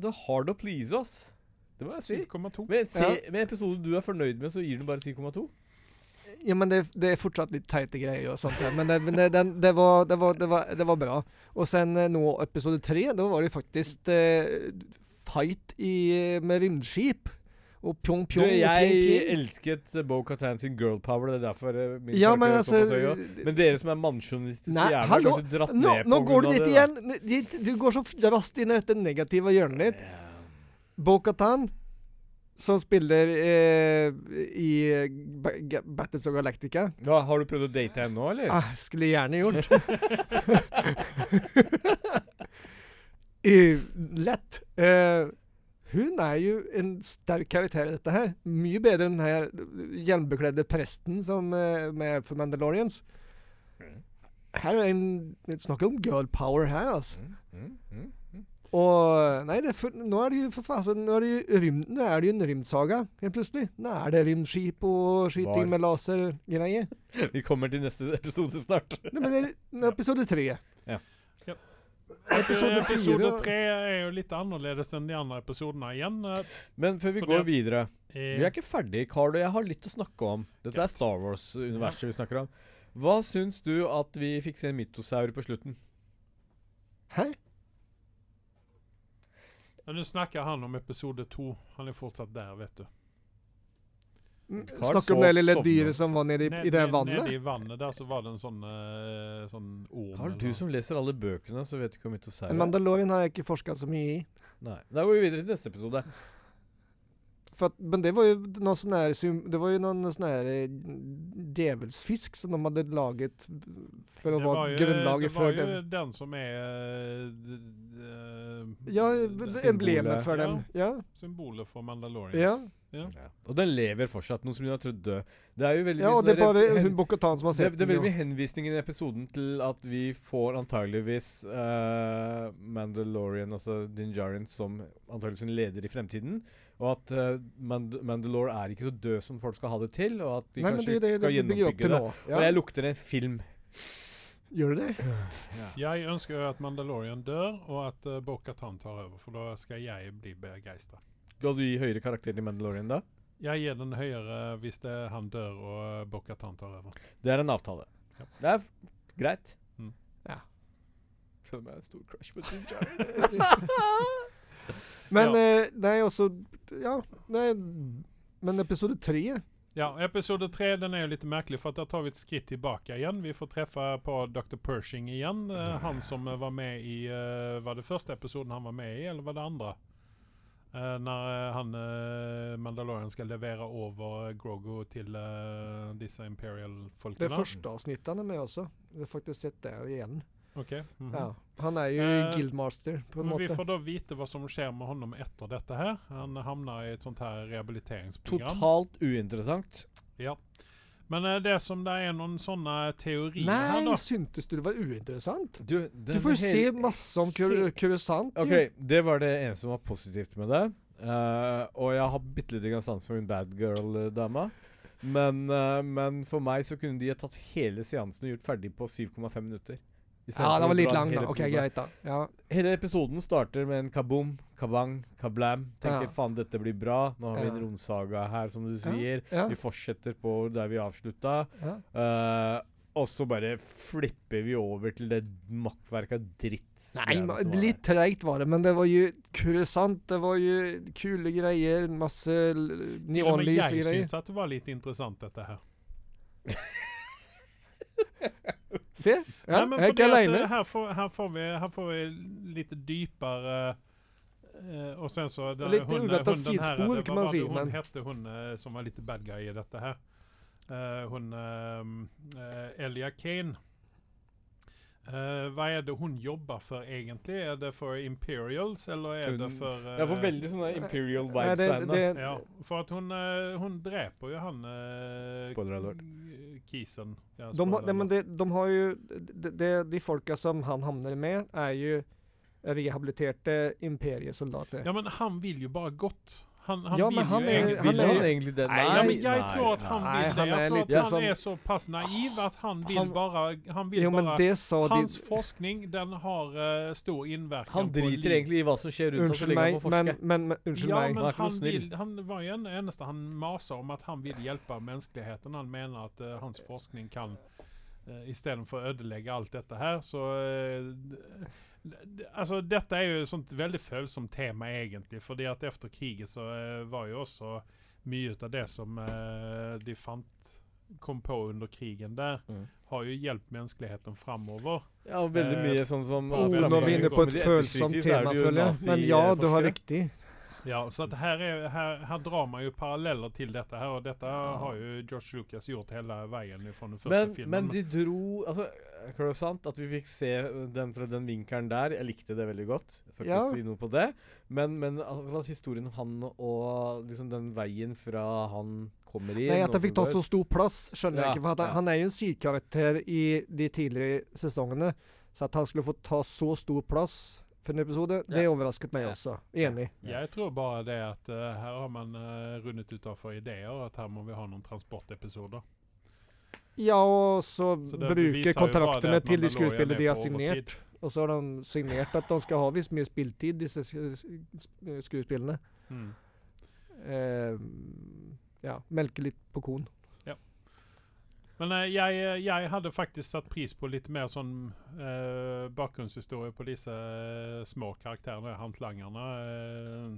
du er hard å please oss. Det må jeg si.
7,2.
Med, se,
Ja.
med episoden du er fornøyd med, så gir den bare 7,2.
Ja, men det, det er fortsatt litt teite greier og sånt her, men det, men det, den, det, var, det, var, det, var, det var bra. Og sen eh, nå episode tre, da var det faktisk eh, fight i, eh, med vindskip. Og pjong,
Du,
pjong, og
jeg
pjong, pjong.
elsket Bo Katan sin girl power. Det er derfor eh, min
Ja,
karakter
men alltså,
er
altså
såpass høy også. Men dere som er mannsjonistiske
Nei,
jævler, har
hallo!
kanskje dratt
Nå,
ned på
nå går du
grunn av
dit
det, da.
igjen! Dit, du går så f- raskt inn i dette negative hjørnet ditt. Bo-Katan, som spiller eh, i eh, Ba- Ga- Battles of Galactica.
Ja, har du prøvd å date henne nå, eller?
Ah, skulle gjerne gjort. Eh, Lett. Eh, hun er jo en sterk karakter i dette her. Mye bedre enn den her hjelmbekledde presten som eh, med for Mandalorians. Her er en Snakk om girl power her, altså.
Mm, mm, mm.
Og Nei, det er for, nå er det jo for faen altså, Nå er det jo rym- nå er det jo en rymdsaga, helt plutselig. Nå er det rymdskip og
Var.
skyting med lasergreier.
Vi kommer til neste episode snart.
Nei, men det er episode tre.
Episode,
Episode fire.
Eh, tre er jo litt annerledes enn de andre episodene igjen.
Men før vi
Fordi
går
at-
videre Vi er
Eh,
ikke ferdig, Carl, og jeg har litt å snakke om. Dette er
Greit.
Star Wars-universet vi snakker om. Hva syns du at vi fikk se en mytosaur på slutten?
Hæ?
men nå snakker han om episode to. Han er fortsatt der, vet du.
Mm,
Carl
Snakker om
sov-
det lille
sovna.
dyret som var nede i,
Ned-
i det
ned-
vannet?
Nede i vannet der så var det en sånn, eh, sånn orm.
Carl,
eller
du
noe.
som leser alle bøkene, så vet du ikke om mytosaur
En Mandalorian har jeg ikke forska så mye i.
Nei. Da går vi videre til neste episode.
For at, men det var jo noe sånn her sum- Det var jo noen sånn her eh, djevelsfisk som de hadde laget for å
Det var
være
jo, det
grunnlaget
var
for
jo
den.
den som er eh, d- d- eh,
Ja,
symbolet.
emblemet for dem. Ja.
Symbolet for Mandalorians.
ja.
Ja. Og den lever fortsatt, noen som hun har trodd død. Det er jo veldig
ja
mye
og det eh, er
sånne
bare
rev- hen-
hun Bokhatan som har
det,
sett
det er
den.
veldig
jo.
mye henvisninger i episoden til at vi får antageligvis eh, Mandalorian, altså Dinjarin, som antageligvis en leder i fremtiden. Og at eh, Mand Mandalore er ikke så død som folk skal ha det til, og at de
Nei, men
kanskje
det, det, det
skal
bygger jo
gjenoppbygge
opp til
det.
nå.
Og
Ja.
jeg lukter en film.
Gjør det det?
Jeg ønsker jo at Mandalorian dør, og at uh, Bo-Katan tar over, for da skal jeg bli begeistra.
Skal du gi høyere karakter til Mandalorian da?
Jeg gir den høyere hvis det er han dør og Bo-Katan tar over.
Det er en avtale.
Ja.
Det er f greit.
Mm.
Ja.
Selv om jeg har en stor crush på Dinjarin.
Men
Ja.
eh, nei, også Ja. Nei, men episode tre
Ja, episode tre den er jo litt merkelig, for at der tar vi et skritt tilbake igjen. Vi får treffe på Dr. Pershing igjen. eh, han som eh, var med i eh, Var det første episoden han var med i, eller var det andre? Eh, når eh, han eh, Mandalorian skal levere over Grogo til eh, disse Imperial-folkene.
Det første avsnittet han er med også. Vi har faktisk sett det igjen.
Ok, mhm.
Ja. Han er jo
Eh,
guildmaster, på en
Men vi
måte.
får da vite hva som skjer med honom etter dette her. Han havner i et sånt her rehabiliteringsprogram.
Totalt uinteressant.
Ja. Men eh, det som det er noen sånne teorier her,
Nei,
da
syntes du det var uinteressant?
Du,
Du
den
får jo se
hele-
masse om Kur- Kurusant. jo.
OK, det var det eneste som var positivt med det. Eh, og jeg har bitte lite grann sans for hun bad girl-dama. Men, eh, men for meg så kunne de ha tatt hele seansen og gjort ferdig på 7,5 minutter. I stedet
Ja,
for
den
å
var litt
dra
lang, da.
hele
OK,
episoden.
greit, da. Ja.
Hele episoden starter med en kaboom, kabang, kablam. Tenker
Ja.
faen, dette blir bra. Nå har vi en
Ja.
romsaga her, som du
Ja,
sier.
ja,
Vi fortsetter på der vi avslutta.
ja.
Eh, og så bare flipper vi over til det makkverket av dritt.
Nei,
greiene
ma-
som var der.
litt treigt var det, men det var jo Kurusant. Det var jo kule greier. Masse l-
Til og med
neonlys og
jeg
greier.
syns at det var litt interessant, dette her.
Se! Ja,
Nei, men
jeg er
fordi
ikke
at,
aleine.
eh, Her, får- her, får vi- her får vi litt dypere eh, Og sen så det-
Litt
hun-
uventa
hunden her,
sidespor,
det-
kan
hva
man
var
si,
det Hun
men-
hette hun eh, som var litt bad guy i dette her. eh, hon eh, eh, Elia Kane. Eh, vad är det hon jobbar för egentligen? Är det för Imperials eller är det
Hon-
för... eh,
Jeg får veldig sånne Imperial
Nej,
vibes av henne.
Ja, för att hon, eh, hon dräper ju han... eh,
Spoiler alert.
Kisen. Ja,
De, har-
spoiler
nej, men
alert.
det, de har ju, de, de, de folka som han hamnade med är ju rehabiliterade imperiesoldater.
Ja men han vill ju bara gott. Han, han
Ja,
vill
men han
ju
är-
egentligen-
han
Vil
er-
han egentlig det?
ja, men jag tror att han
nej.
vill det.
Han
Jag
är
tror att
lite
han
som-
är så pass naiv att han vill
Han-
bara... Han vill
jo,
bara
men det sa
Hans
Hans
forskning den har eh, stor innverkan
Han
på
driter
liv.
egentlig i hva som skjer rundt ham, så
Unnskyld
lenge
mig,
han får
men,
forske.
men, men unnskyld
Ja,
mig.
men
Han er ikke
han,
noe snill.
vill, han var ju en eneste han masar om att han vill hjälpa mänskligheten. Han menar att eh, hans forskning kan eh, istället för att ödelägga allt detta här så... eh, d- d- Alltså detta är ju ett sånt väldigt följsamt tema egentligen. För det att efter kriget så eh, var ju också mycket av det som eh, de fant kom på under krigen där
Mm.
har ju hjälpt mänskligheten framover.
Ja, og veldig
Eh,
mye sånn som
Ja,
Oh,
men-
nå er vi inne på et
Men i
følsomt
etterkrigstid så er
tema,
det jo
føler jeg. Men ja, du har
naziforskere.
riktig.
Ja, så att här, är, här, här drar man ju paralleller till detta här och detta har ju George Lucas gjort hela vägen från den första
Men,
filmen.
men de dro Altså, er det sant at vi fikk se eh, den fra den vinkelen der? Jeg likte det veldig godt. Jeg skal
Ja.
ikke si noe på det. Men, men akkurat historien om han og liksom den veien fra han kommer inn
Nej, att
og
han fick
så
ta så stor plats kände
Ja,
jag inte, för att han,
ja.
han är ju en sidkaraktär i de tidigare säsongerna. Så att han skulle få ta så stor plats för en episod, det
Ja.
överraskat mig
Ja.
också. Enig.
Jag tror bara det att eh, här har man uh, runnit utav för idéer att här må vi ha någon transportepisoder.
Ja, och så,
Så det bevisar
brukar
ju bara det
kontrakterna
att
till de
Mandalorian
skådespelare de
är
har
på
signerat.
overtid.
Och så har de signerat att de ska ha viss mer spilltid, dessa skådespelarna.
Mm.
Ehm, ja, melke lite på kon.
Men eh, jag, jag hade faktiskt satt pris på lite mer sån eh, bakgrundshistoria på dessa eh, små karaktärerna, hantlangarna eh,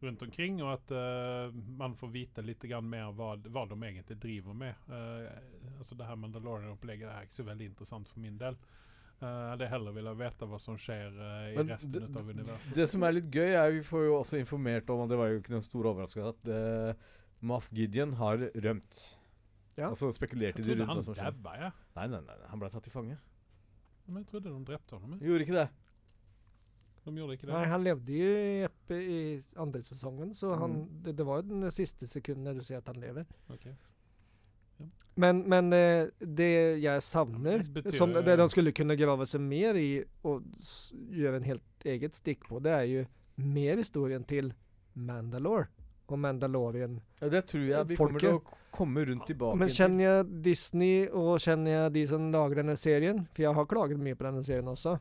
runt omkring och att eh, man får veta lite grann mer vad, vad de egentligen driver med. Eh, alltså det här Mandalorian-upplägget är så väldigt intressant för min del. Eh, Jag hade hellre velat veta vad som sker eh, i
Men d-
resten
d-
av universum.
Det som er litt gøy, er vi får jo også informert om, og det var jo ikke noen stor overraskelse, at uh, Maff Gideon har Alltså, rømt.
Ja.
Altså spekulerte
Jag
de
trodde
rundt
han
hva som skjedde.
dabbade, ja.
Nei, nei, nei, nei, han ble tatt til fange.
Men jag trodde de dräpte honom. ja.
Gjorde ikke det.
De gjorde inte det.
Nej, han levde ju i, Eppe i andra säsongen, så
Mm.
han, det, det var ju den sista sekunden när du ser att han lever.
Okej.
Men, men eh, det jag
Ja,
savnar,
det betyder-
som det de skulle kunna gräva sig mer i och s- göra en helt eget stick på, det är ju mer historien till Mandalore och Mandalorian.
Ja, det tror jeg vi kommer til å k- komme rundt tilbake
Men
til.
känner jag Disney och känner jag de som lagar den här serien, för jag har klagat mycket på den här serien också,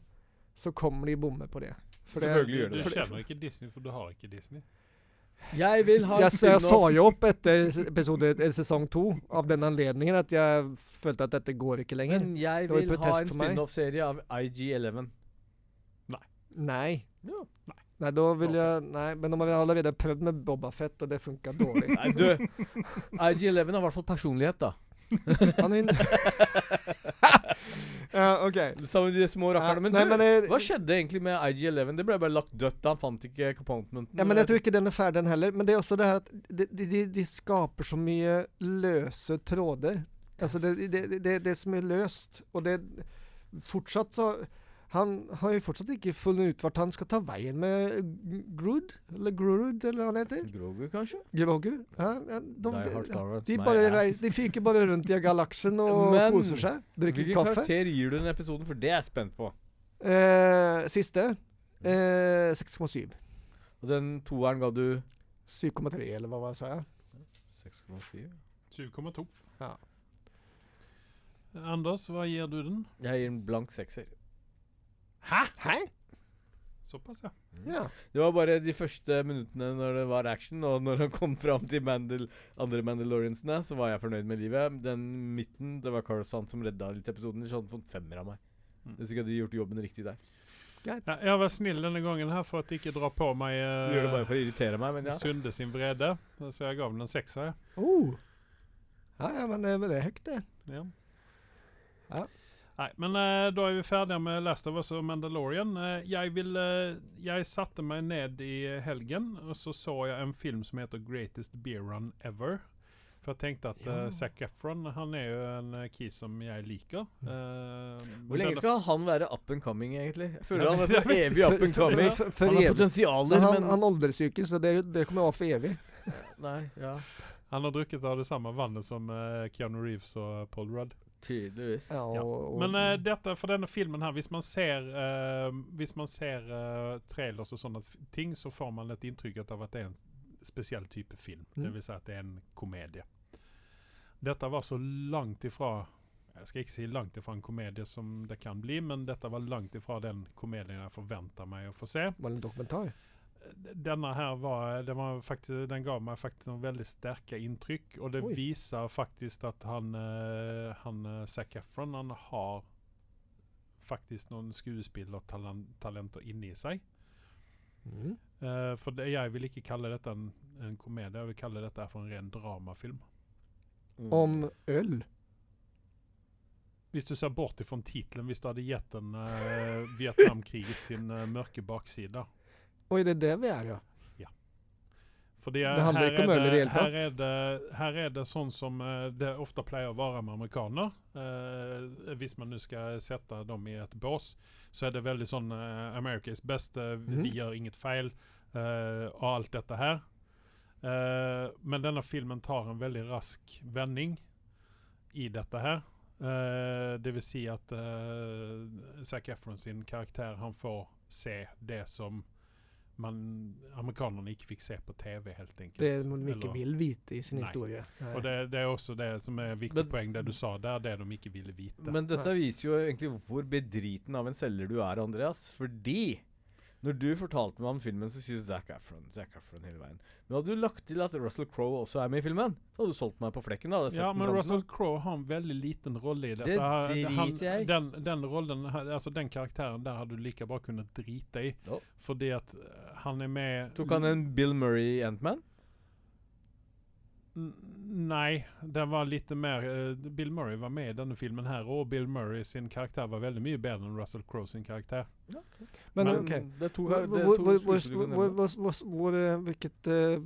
så kommer de bomma på det. För
Selvfølgelig gjør det
Du
det.
känner inte Disney för du har inte Disney.
Jeg vil ha en
Jeg, jeg sa
spin-off.
jo opp etter s- episode eller sesong to av den anledningen at jeg følte at dette går ikke lenger.
Men jeg
Det var i
vil ha
protest
en
for meg.
spin-off-serie av IG11.
Nei.
Ja.
Nei, da vil jeg Nei, men de har allerede prøvd med Bobafett, og det funka dårlig.
Nei, du IG11 har i hvert fall personlighet, da.
Han er Ja, OK.
Sammen med de små rakkerne. Men,
Nei,
du,
men jeg-
hva skjedde egentlig med IG11? Det ble bare lagt dødt da han fant ikke compoundmenten.
Ja, men jeg tror ikke den er ferdig, den heller. Men det er også det her at de, de, de, de skaper så mye løse tråder. Altså, Alltså, det, det, det- det, det som er løst. Og det Fortsatt så Han har jo fortsatt ikke funnet ut vart han skal ta veien med Grood, eller Grurud, eller hva han heter.
Grogu, kanskje?
Grogu. Ja, ja,
Die Hard
de,
Star Wars,
de,
my
bare
ass.
reis, de fyker bare rundt i galaksen og
Men-
koser seg. Drikker
Hvilken
kaffe.
karakter gir du den episoden? For det er jeg spent på.
Eh, siste eh, 6,7.
Og den toeren ga du
7,3, eller hva var det jeg sa?
6,7.
7,2.
Ja.
Anders, vad ger du den?
Jeg gir en blank sekser.
Hæ?
Så pass ja.
Ja.
Det var bare de første minuttene når det var action, og når han kom fram til Mandal andre Mandaloriansene, så var jeg fornøyd med livet. Den midten, det var Coruscant som redda litt episoden, så han fått femmer av meg.
Mm.
Hvis ikke hadde gjort jobben riktig der.
ja. Jag var snill den här gången här för att inte dra på mig
Du gjør det bare for å irritere meg, men ja.
Sunde sin vrede. Så jag gav den en sexa. ja.
Oh. Ja, ja, men det, men det är högt det.
Ja.
Ja.
Nej, men eh, då är vi färdiga med Last of Us och Mandalorian. Eh, Jag, vill, eh, jag satte mig ned i helgen och så såg jag en film som heter Greatest Beer Run Ever. For jeg tenkte at
Ja.
eh, Zac Efron han er jo en eh, key som jeg liker. Eh,
Hvor lenge
denne-
skal han være up and coming, egentlig? Jeg føler
Ja,
han er
jeg
sånn evig up and coming.
For, for,
Han
for
har
evig.
potensialer,
Men han,
men
han åldres jo ikke, så det, det kommer å være for evig.
Nei, ja.
Han har drukket av det samme vannet som eh, Keanu Reeves og Paul Rudd.
Tydeligvis.
Ja, og,
Ja.
og,
Men eh, dette, for denne filmen her, hvis man ser, eh, hvis man ser eh, trailers og sånne f- ting, så får man et inntrykk av at det er en spesiell type film.
Mm.
Det vil si at det er en komedie. Dette var så langt ifra Jeg skal ikke si langt ifra en komedie som det kan bli, men dette var langt ifra den komedien jeg forventa meg å få se.
var det en dokumentar?
Denne her var, det var faktisk, den gav meg faktisk noen veldig sterke inntrykk, og det
Oi.
viser faktisk at han, eh, han eh, Zac Efron, han har faktisk noen skuespillertalenter inni seg.
Mm.
Eh, for det, jeg vil ikke kalle dette en, en komedie, jeg vil kalle dette for en ren dramafilm.
Om øl?
Hvis du ser bort ifrån titlen, hvis du hadde gitt den eh, Vietnamkriget sin eh, mørke baksida.
Oi, det er det vi er, ja.
Fordi eh,
Det handler
her
ikke om
er
øl i det hele
her
tatt.
er det, her er det sånn som eh, det ofte pleier å være med amerikaner. Eh, hvis man nå skal sette dem i et bås, så er det veldig sånn eh, America is best, eh, vi
Mhm.
gjør inget feil, eh, og alt dette her. Eh, men denne filmen tar en veldig rask vending i dette her. Eh, det vil si at eh, Zac Efron sin karakter, han får se det som man, amerikanerne ikke fikk se på TV, helt enkelt.
Det er noe de
Eller-
ikke vil vite i sin
Nei.
historie. Nei.
Og det, det er også det som er viktig
Men-
poeng, det du sa der, det de ikke ville vite.
Men dette viser jo egentlig hvor bedriten av en selger du er, Andreas. Fordi når du fortalte meg om filmen, så sier Zac Efron, Zac Efron hele veien. Men hadde du lagt til at Russell Crowe også er med i filmen, så hadde du solgt meg på flekken. da. hadde jeg
ja,
sett den
men
fram til
Russell
nå.
Crowe har en veldig liten rolle i dette.
Det
Han- han-
driter jeg i.
Den, den rollen, her- altså den karakteren der hadde du like bra kunnet drite i.
Ja.
Fordi at eh, han er med
Tok han en Bill Murray i Antman?
N- Nei, den var lite mer eh, Bill Murray var med i denne filmen her, og Bill Murray sin karakter var veldig mye bedre enn Russell Crowe sin karakter.
Men, eh,
Men-
ok.
det er to,
Hvor,
det er
hvor,
to
hvor, hvor,
skuespillere du kan
hvor,
nevne.
hvor, hvor, hvor, eh, hvilket eh,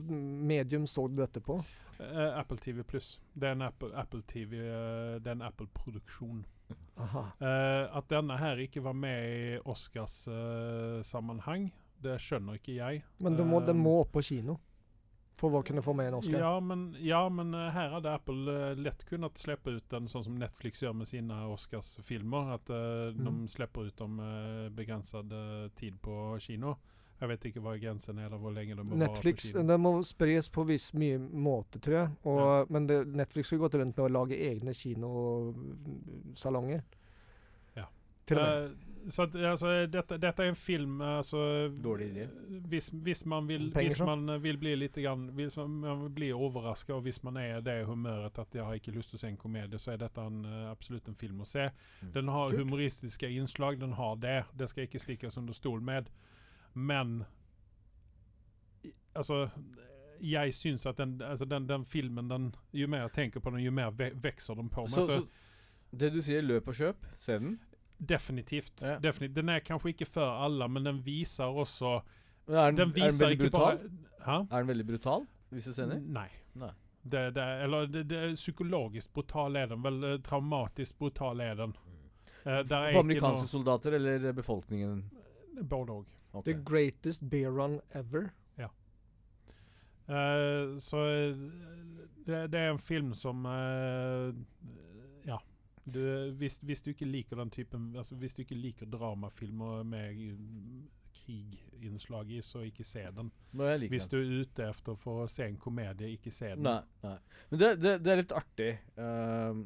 medium så du dette på?
Eh, Apple TV pluss. Det er en Apple, Apple TV eh, Det er en Apple-produksjon.
Aha.
Eh, at denne her ikke var med i Oscars-sammenhang, det skjønner ikke jeg.
Men den må, den
Eh,
må opp på kino for å kunne få med en Oscar.
Ja, men, ja, men eh, her hadde Apple eh, lett kunnet slippe ut den, sånn som Netflix gjør med sine Oscars-filmer. At eh,
Mm.
de slipper ut om eh, begrenset eh, tid på kino. Jeg vet ikke hva grensen er, eller hvor lenge det må
Netflix
være på kino.
den må spres på viss mye måte, tror jeg. Og, Men det, Netflix har gått rundt med å lage egne mm, kinosalonger.
Ja.
Til og med.
Eh, så at, altså, dette, dette er en film eh, altså,
Dårlig idé.
Hvis, hvis man vil
Penger
Hvis
så.
man eh, vil bli litt grann, Hvis man vil bli overraska, og hvis man er i det humøret at 'jeg har ikke lyst til å se en komedie', så er dette en, eh, absolutt en film å se.
Mm.
Den har
Kult.
humoristiske innslag, den har det. Det skal ikke stikkes under stol med. Men i- Altså jeg syns at den, altså den, den filmen den, Jo mer jeg tenker på den, jo mer ve vokser den på Alltså, meg.
Så,
så
så det du sier, løp og kjøp. Se den.
Definitivt.
Ja.
Defini- Den er kanskje ikke for alle, men den viser også
Men er
Den
den, er den
viser
veldig
ikke
brutal?
bare Hæ?
Er den veldig brutal? Hvis du ser den?
Nei.
Nei.
Det, det, eller det, det er psykologisk brutal er den. Vel, eh, traumatisk brutal er den.
Mm.
Eh, der er
På
ikke
amerikanske soldater eller befolkningen?
noe Både òg.
Ok.
The greatest beer run ever.
Eh, så eh, det, det er en film som eh, Ja. Du, hvis, hvis du ikke liker den typen altså Hvis du ikke liker dramafilmer med mm, kriginnslag i, så ikke se den.
Nå, jeg liker
Hvis
den.
du er ute etter for å se en komedie, ikke se den.
Nei, nei. Men det, det, det er litt artig. Ehm,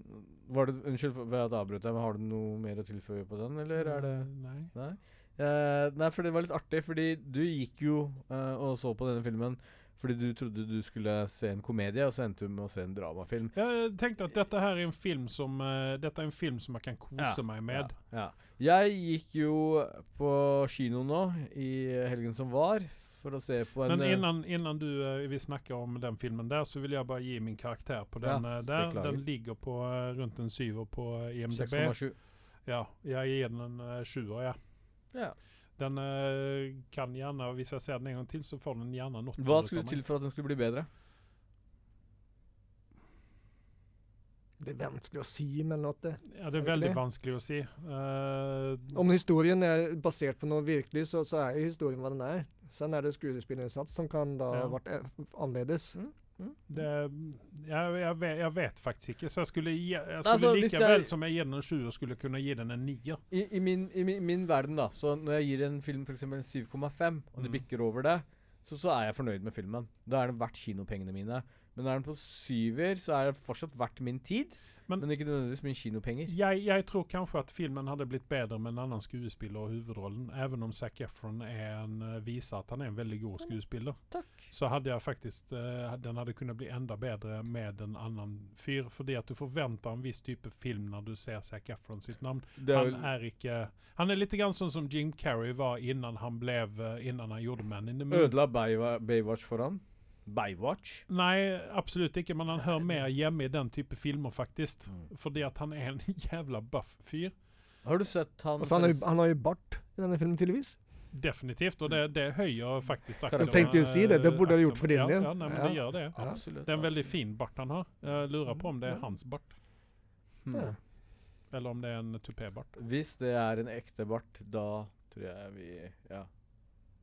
var det, unnskyld for for at jeg avbrøt deg, men har du noe mer å tilføye på den, eller er det
Nei.
Nei? Eh, nei, for det var litt artig, fordi du gikk jo eh, og så på denne filmen fordi du trodde du skulle se en komedie, og så endte du med å se en dramafilm.
Jeg tenkte at dette her er en film som eh, Dette er en film som jeg kan kose
Ja,
meg med.
Ja, ja. Jeg gikk jo på kino nå i helgen som var, for å se på en
Men
eh,
innan, innan du eh, vi snakker om den filmen der, så vil jeg bare gi min karakter på
Ja,
den eh, der.
beklager.
Den ligger på eh, rundt en syver på eh, IMDb.
6,7.
Ja, jeg gir den en eh, sjuer, jeg.
Ja.
Den eh, kan gjerne, hvis jeg ser den en gang til, så får den gjerne en åtter
Hva
ut av
skulle
meg.
til for at den skulle bli bedre?
det er vanskelig å si, men at det,
Ja, det er veldig vanskelig å si. Eh,
om historien er basert på noe virkelig, så, så er jo historien hva den er. Sen er det skuespillerinnsats som kan da ha
Ja.
vært eh, annerledes.
det, jeg, jeg, vet, jeg vet faktisk ikke, så jeg skulle, gi- jeg skulle
Altså, hvis
like
jeg-
vel som jeg gir den en sjuer, skulle kunne gi den en nier.
I, i, min, i min, min verden, da, så når jeg gir en film f.eks. 7,5, og det
Mm.
bikker over det, så, så er jeg fornøyd med filmen. Da er den verdt kinopengene mine. Men er den på syver, så er det fortsatt verdt min tid,
Men-
men, ikke nødvendigvis mine kinopenger.
Jeg, jeg tror kanskje at filmen hadde blitt bedre med en annen skuespiller og hovedrollen. Even om Zac Efron er en, eh, viser at han er en veldig god skuespiller,
Takk.
så hadde jeg faktisk eh, Den hadde kunnet bli enda bedre med en annen fyr. Fordi at du forventer en viss type film når du ser Zac Efron sitt navn.
Det er,
Han
vel-
er ikke Han er litt grann sånn som Jim Carrey var innan han ble eh, Innan han gjorde Man in the Moon.
ødela Baywa- Baywatch for han. Baywatch?
Nei, absolutt ikke, men han hører mer hjemme i den type filmer, faktisk.
Mm.
Fordi at han er en jævla buff fyr.
Har du sett han
Og så han, har
forresten?
jo- han har jo bart i denne filmen, tydeligvis.
Definitivt, og det,
Mm.
det høyer faktisk
Jeg
aksjene,
tenkte jo si det, det burde du gjort for din
Äh, ja,
del.
Ja, nei, men det gjør det.
Ja.
Absolutt.
Det er en veldig
absolutt.
fin bart han har. Jeg lurer på om det er hans bart,
Hmm.
Ja.
eller om det er en tupébart.
Hvis det er en ekte bart, da tror jeg vi ja,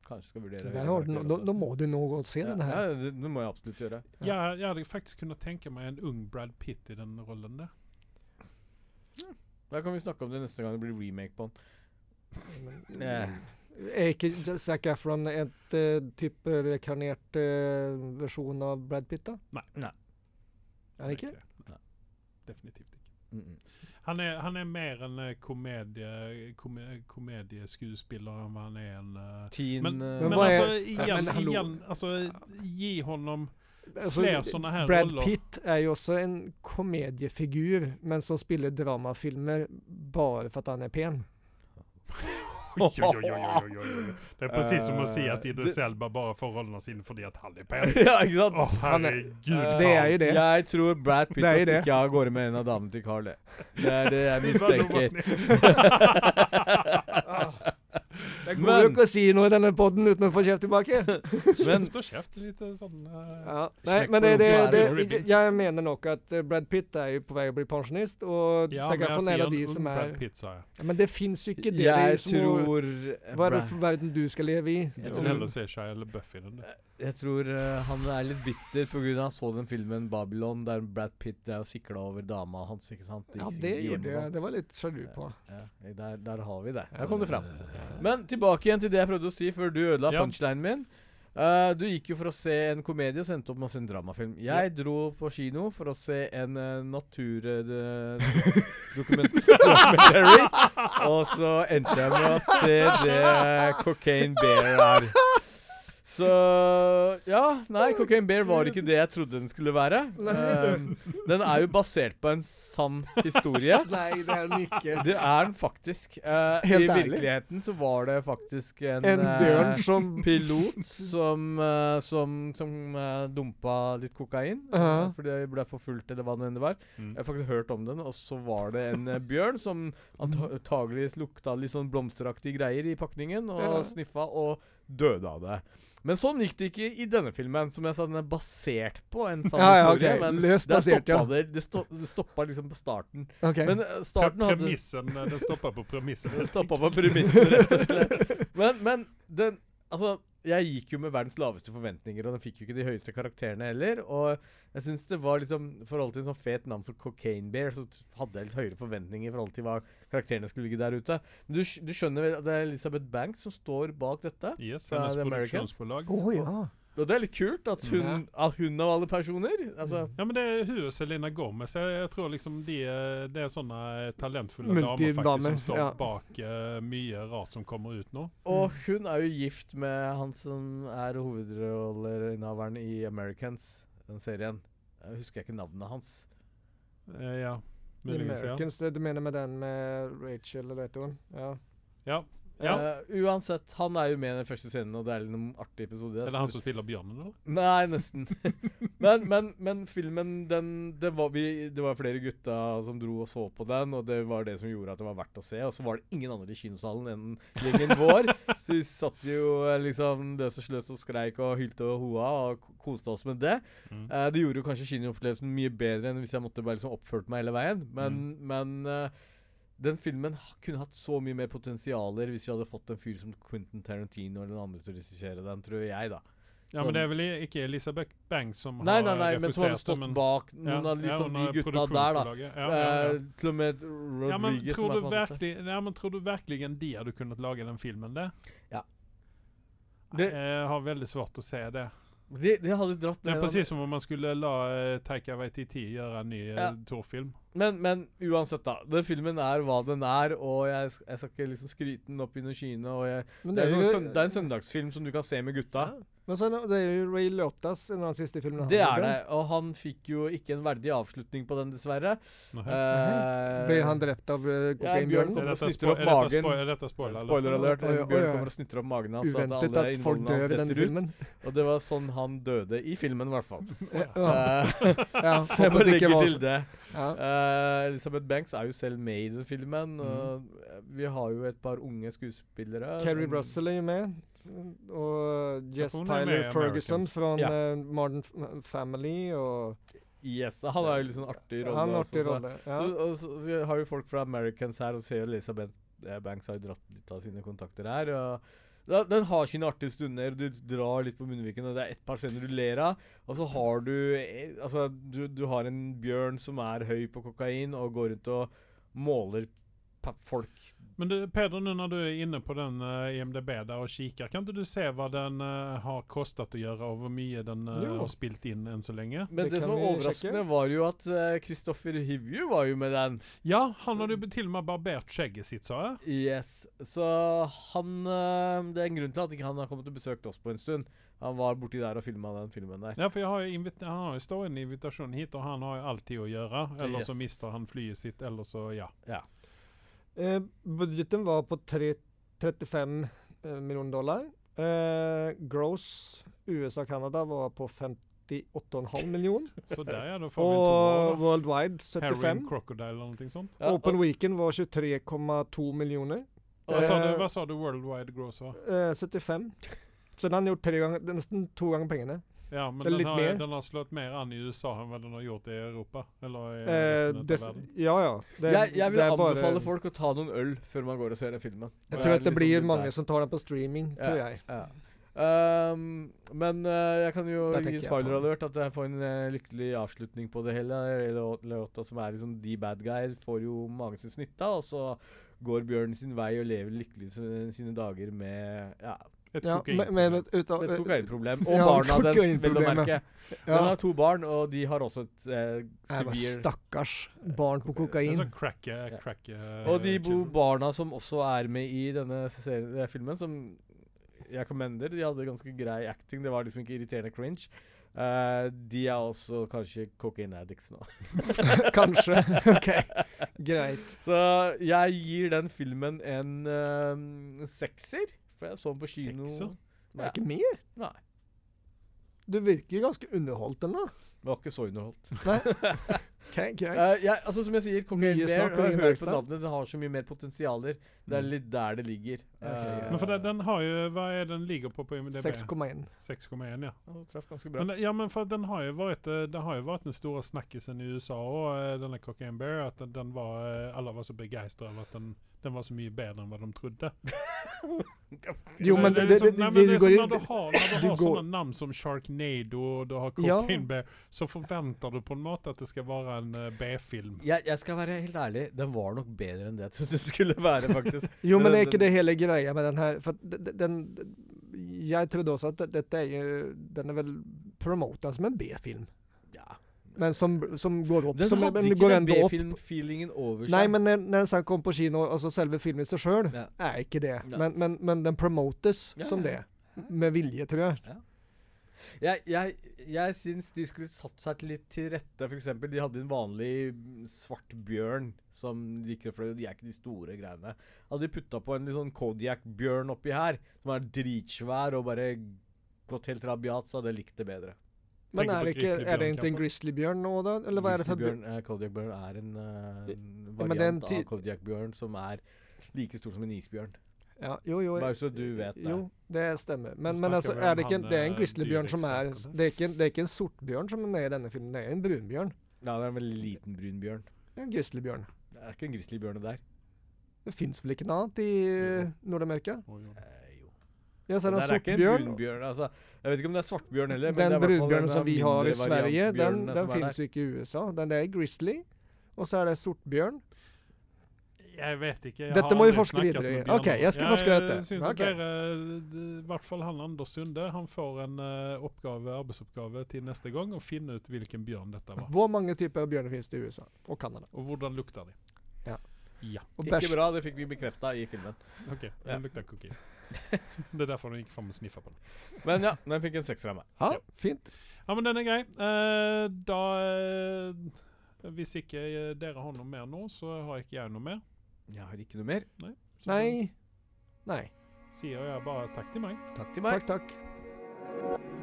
kanskje skal vurdere å
Der
gjøre
har
det
du no-
også.
da, da må du nå gå og se
ja,
den her.
Ja, det, det må jeg absolutt gjøre.
Ja. Jeg, jeg hadde faktisk kunnet tenke meg en ung Brad Pitt i den rollen der.
Da kan vi snakke om det neste gang det blir remake på den.
Men- Er ikke J- Zac Efron et eh, type rekarnert eh, versjon av Brad Pitt, da?
Nei.
Nei.
Er det ikke?
Nei. Definitivt ikke.
Mm -mm.
Han er, han er mer en eh, komedie, eh, kome, komedieskuespiller enn hva han er en eh,
Teen
Men,
eh,
men,
hva er-
altså,
ja,
igjen,
men hallo.
igjen altså, gi honom
Altså,
flere sånne her
Alltså, Brad
roller.
Pitt er jo også en komediefigur, men som spiller dramafilmer bare for at han er pen.
Oi, oi, oi, oi, oi, oi. Det er precis som att se
Eh,
att Idris
det-
Elba bara får rollerna sin för det att han är pen.
Ja, ikke sant?
Åh herregud.
Eh,
Det er jo det.
Jeg tror Brad Pitt
Det er
har
jo det.
stikket av gårde med en av damene til Carl, det. Det er det jeg
Carl.
mistenker.
Det går jo
Men-
ikke å si noe i denne poden uten å få kjeft tilbake.
Men
Käft och käft, lite sån... eh,
Ja. Nei,
Smekk
men det,
på
det,
rumpa
det,
er
ribbing.
jeg mener nok at eh, Brad Pitt er jo på vei å bli pensjonist, og
Ja,
Zac
men alltså, jag
Efron
ser
er en av de
en ung
som er
Brad Pitt, sa jag.
ja, Men det fins jo ikke det. det er jo
jeg
som å-
tror
Hva er det
Brad-
for verden du skal leve i?
Jeg
Jag
tror-
vill hellre se Shia LaBeouf i den där.
Jeg tror eh, han er litt bitter pga. han så den filmen 'Babylon' der Brad Pitt er og sikla over dama hans. ikke sant?
Ja,
gikk
det liksom
sikkert hjem
gjorde
og
jeg. Det var litt sjalu
Ja.
på.
sånn. Ja, der, der har vi det. Der kom det fram. Men tilbake igjen til det jeg prøvde å si før du ødela
Ja.
punchlinen min. Eh, du gikk jo for å se en komedie og sendte opp masse en dramafilm. Jeg dro på kino for å se en uh, naturdokumentary. og så endte jeg med å se det Cocaine Bear er. Så Ja, nei, Cocaine Bear var ikke det jeg trodde den skulle være. Um, den er jo basert på en sann historie.
Nei, det er den ikke.
Det er den faktisk. Eh, I
Helt ærlig.
virkeligheten så var det faktisk en,
En
eh,
bjørn som
pilot som, eh, som, som eh, dumpa litt kokain. eh,
Ja.
Fordi jeg ble forfulgt, eller hva det enn det var. Jeg har faktisk hørt om den, og så var det en eh, bjørn som antagelig lukta litt sånn blomsteraktige greier i pakningen, og
Ja.
sniffa og døde av det. Men sånn gikk det ikke i denne filmen, som jeg sa den er basert på en sann
Ja, ja,
historie.
ok.
Men
Løst
der
basert,
stoppa
ja.
det, det, sto, det stoppa liksom på starten.
Ok.
Men eh, starten hadde
Premissen, eh, den stoppar på premissen.
den stoppa på premissene, rett og slett. Men, men den alltså, Altså, jeg gikk jo med verdens laveste forventninger, og den fikk jo ikke de høyeste karakterene heller. Og jeg syns det var liksom I forhold til en sånn fet navn som Cocaine Bear, så t- hadde jeg litt høyere forventninger i forhold til hva karakterene skulle ligge der ute. Men du, skj- du skjønner vel at det er Elizabeth Banks som står bak dette?
Yes,
Fra
hennes
The Americans.
produksjonsbolag.
Å ja.
Og det er litt kult at hun, at hun av alle personer alltså. Altså
Ja men det är hur Selena Gomez, jag, jag tror liksom det, är- det är sådana talentfulla damer faktiskt
Multidamer,
som står
ja.
bak uh, mycket rart som kommer ut nu.
Og hun er jo gift med han som er hovedrolleinnehaveren i Americans, den serien. Jeg husker ikke navnet hans.
Eh, ja,
The
möjligen så ja.
Americans, det du mener med den med Rachel, eller hva heter hun? Ja.
Ja, Ja.
Eh, uansett, han er jo med i den første scenen, og det er litt noen artige episoder.
Er det han som spiller bjørnen, eller?
Nei, nesten. men, men, men filmen, den det var, vi, det var flere gutta som dro og så på den, og det var det som gjorde at det var verdt å se. Og så var det ingen andre i kinosalen enn gjengen vår. Så vi satt jo eh, liksom løs og sløs og skreik og hylte og hoa og k- koste oss med det.
Mm.
Eh, det gjorde jo kanskje kinoopplevelsen mye bedre enn hvis jeg måtte bare liksom oppført meg hele veien, men, men eh, den filmen ha- kunne hatt så mye mer potensialer hvis vi hadde fått en fyr som Quentin Tarantino eller noen andre til å regissere den, tror jeg, da.
Ja, men det er vel i- ikke Elisabeth Bang som
Nei, nei,
har
nei, men som hadde
regissert det,
stått bak noen
Ja,
av
ja,
liksom
under
de gutta der, da.
produksjonsbolaget. Ja, ja, ja.
Eh, til og med Rodriguez
Ja, men
som
tror du,
er på andre sted.
virkelig, ja, men tror du verkligen de hadde kunnet lage den filmen der?
Ja.
Det,
Det-
jeg har veldig svårt å se det.
de, de hadde dratt
Det er
med den-
precis som om man skulle la eh, Taika Waititi gjøre en ny ja.
Ja.
Thor-film.
Men, men uansett, da. Den filmen er hva den er, og jeg, sk- jeg skal ikke liksom skryte den opp i noen kino. Og jeg,
Men
det, er
jo-
sånn, søn- det er en søndagsfilm som du kan se med gutta.
Men så er det, det er jo Ray Liotas, en av de siste filmene han
Det er
gjorde.
det. Og han fikk jo ikke en verdig avslutning på den, dessverre.
Nähä.
Eh,
Ble han drept av eh,
bjørn.
kokainbjørnen?
Är
de
detta
snytter
spo-
upp
är detta
magen.
spo- är detta spoiler alert?
Spoiler alert.
Oi, oi,
En bjørn
oi.
kommer og snitter opp magen hans. så at
Uventet
alle
at folk
innvollene hans
dør i den
detter ut.
filmen.
Og det var sånn han døde i filmen, i hvert fall.
Ja,
Eh,
ja,
så jeg
håper
bare
det ikke
legger
var
til
så-
det.
Ja.
Eh, Elizabeth Banks er jo selv med i den filmen.
Mm.
og vi har jo et par unge skuespillere.
Kerry
som-
Russell er jo med. Og Jess
hon är med i
Tyler Ferguson
Americans.
fra
Ja.
Modern F- Family. Og
Yes, han har jo litt sånn artig rolle.
han har
også,
artig
så-
rolle. Ja.
Så, og så vi har jo folk fra Americans her, og ser Elizabeth eh, Banks har jo dratt litt av sine kontakter her. og da- den har sine artige stunder, du drar litt på munnviken, og det er et par scener du ler av. Og så har du eh, Altså, du, du har en bjørn som er høy på kokain, og går rundt og måler pa- folk
Men du, Peder, nu när du är inne på den eh, IMDB där och kikar, kan inte du se vad den eh, har kostat att göra och hur mycket den eh,
Jo.
har spilt in än så länge?
Men
Det
det,
kan
som var
vi
overraskende, var jo at eh, Kristoffer Hivju var jo med den.
Ja, han har ju till och med barberat skägget sitt, sa jag.
Yes. Så han eh, Det er en grunn til at ikke han har kommet og besøkt oss på en stund. Han var borti der og filma den filmen der.
Ja, för jag har ju invit- han har ju stående invitation hit och han har ju alltid att göra. Eller så
Yes.
mister han flyet sitt, eller så ja.
Eh, budgeten var på tre, 35 eh, miljoner dollar. Eh, gross USA og Canada var på 58,5 miljoner.
Så där ja, då får vi alltså. en
og
tonåring.
worldwide
Heroin
75.
Crocodile eller någonting sånt.
Ja,
Open
og,
Weekend var 23,2 miljoner.
Vad sa du,
Eh,
vad sa du worldwide gross var?
Eh, 75. Så den har gjort tre ganger, nesten to ganger pengene.
Ja, men
det är
den
lite
har,
mer.
den har slått mer an i USA än vad den har gjort i Europa. Eller i
Eh,
resten av
des,
världen.
ja, ja. Det-
jeg, jeg vil
det er bare-
anbefale folk å ta noen øl før man går og ser den filmen.
Jeg
Og
tror
er
at det
liksom
blir
litt
mange
der.
som tar den på streaming,
Ja.
tror jeg.
ja. Ehm, men eh, jeg kan jo
Da tenker
gi
jeg på
spoiler
den.
alert at jeg får en eh, lykkelig avslutning på det hele. Leota, som er liksom the bad guy, får jo magen sin snitta, og så går bjørnen sin vei og lever lykkelig sin- sine dager med ja,
Ett
Ja, men,
kokain.
men, et- ut av-
et kokainproblem. Og
Ja,
barna dens, vel å
kokainproblemet.
merke.
ja.
Den har to barn, og de har også et eh,
Nei, men
severe
Stakkars Äh,
Eh,
barn på
kokain.
Det är
kokain.
så crack, eh,
Ja.
crack eh,
Og de bo
kid.
barna som også er med i denne serien, eh, filmen, som jeg commender, de hadde ganske grei acting. Det var liksom ikke irriterende cringe. Eh, de er også kanskje cocaine addicts nå.
Kanskje. ok, greit.
Så jeg gir den filmen en eh, sekser, for jeg så den på kino.
Sekser?
Det
Nei,
er ikke mer.
nei,
Du virker jo ganske underholdt ennå.
det var ikke så underholdt.
Ok,
Äh,
greit.
Eh, jeg, altså Som jeg sier, Cocaine
Mye
Bear
snakk om
har hørt på
Ingvarstad.
navnet, den har så mye mer potensialer. Det er litt der det ligger.
Ja, ok,
Eh,
ja.
Men för den, den har ju, vad är den ligger på på IMDB?
6,1.
6,1 ja.
ja, den traff ganske bra.
Men, ja men för den har ju varit, eh, det har ju varit den stora snackisen i USA och eh, den här Cocaine Bear att den, den var, eh, alla var så begeistrade över att den, den var så mycket bättre än vad de trodde.
Jo, men
det,
det,
är
det,
liksom-
det,
nej, men
det,
det
det
är som
går
när du
jo
har, när du
det
har
går-
sådana namn som Sharknado och du har Cocaine
Ja.
Bear så förväntar du på något att det ska vara en eh, B-film.
Jeg, jeg skal være helt ærlig, den var nok bedre enn det jeg trodde det skulle være, faktisk.
Jo, men det er
den-
ikke det hele greia med den her. For at d- d- den Jeg trodde også at d- dette er jo Den er vel promota som en B-film.
Ja.
Men som, som går opp
Den
som
hadde
men
ikke
går
den
enda opp.
B-film-feelingen over seg.
Nei, men når, når den sen kom på kino, altså selve filmen i seg sjøl,
Ja.
er ikke det.
Ja.
Men, men, men den promotes
Ja,
som
ja,
det. Med vilje, tror jeg.
Jeg, jeg, jeg syns de skulle satt seg til litt til rette. For eksempel, de hadde en vanlig svart bjørn som de ikke fløy. og De er ikke de store greiene. Hadde de putta på en litt sånn Kodiak-bjørn oppi her, som er dritsvær og bare gått helt rabiat, så hadde jeg likt det bedre.
Men
Tenker på
er det, ikke, er det ikke en grizzlybjørn nå, da? Eller hva er det for bjørn?
Grizzlybjørn, eh, Kodiak-bjørn er en eh, en
men det er en
variant
ty-
av Kodiak-bjørn som er like stor som en isbjørn.
Ja, jo, jo.
Bare så du vet det.
Jo, det stemmer. Men,
Nå
men
snakker
altså,
vi om
er det ikke en,
han,
det er en
eh,
grizzlybjørn som er
dyreeksperten der.
det er, ikke en, det er ikke en sortbjørn som er med i denne filmen, det er en brunbjørn.
Ja, det er en veldig liten brun bjørn.
En grizzlybjørn.
Det er ikke en grizzlybjørn det der.
Det fins vel ikke noe annet i eh, Nord-Amerika?
Oi, oi.
Eh, jo.
Ja, så er
Det
det
der er
en
ikke en
sortbjørn.
brunbjørn. Altså, jeg vet ikke om det er svartbjørn heller. men
Den
det er i hvert fall
brunbjørnen
en
som
av
vi har i
mindre
Sverige, den,
variantbjørnene
den
som er
fins
der.
ikke i USA. Den er grizzly, og så er det sortbjørn.
Jeg vet ikke. Jeg
Dette
har
må vi
aldri
forske
snakket
videre i.
med Bjørn
Ok, jeg skal
Anders.
forske dette.
Jeg syns at
Ok.
dere, d- eh, i hvert fall han Anders Sunde, han får en eh, oppgave, arbeidsoppgave til neste gang å finne ut hvilken bjørn dette var.
Hvor mange typer av bjørner fins det i USA og Canada?
Og hvordan lukter de.
Ja.
Ja,
Og
Ikke
bæsj.
bra, det fikk vi bekrefta i filmen.
OK. Den
Ja.
lukter cookie. Det er derfor han gikk fram og sniffa på den.
Men ja, den fikk en sekser av meg.
Ja, fint.
Ja, men den er grei. Eh, da eh, Hvis ikke eh, dere har noe mer nå, så har ikke jeg noe mer.
Jeg har ikke noe mer.
Så
Nei. Nei.
sier jeg bare takk til meg.
Takk til meg.
Takk, takk.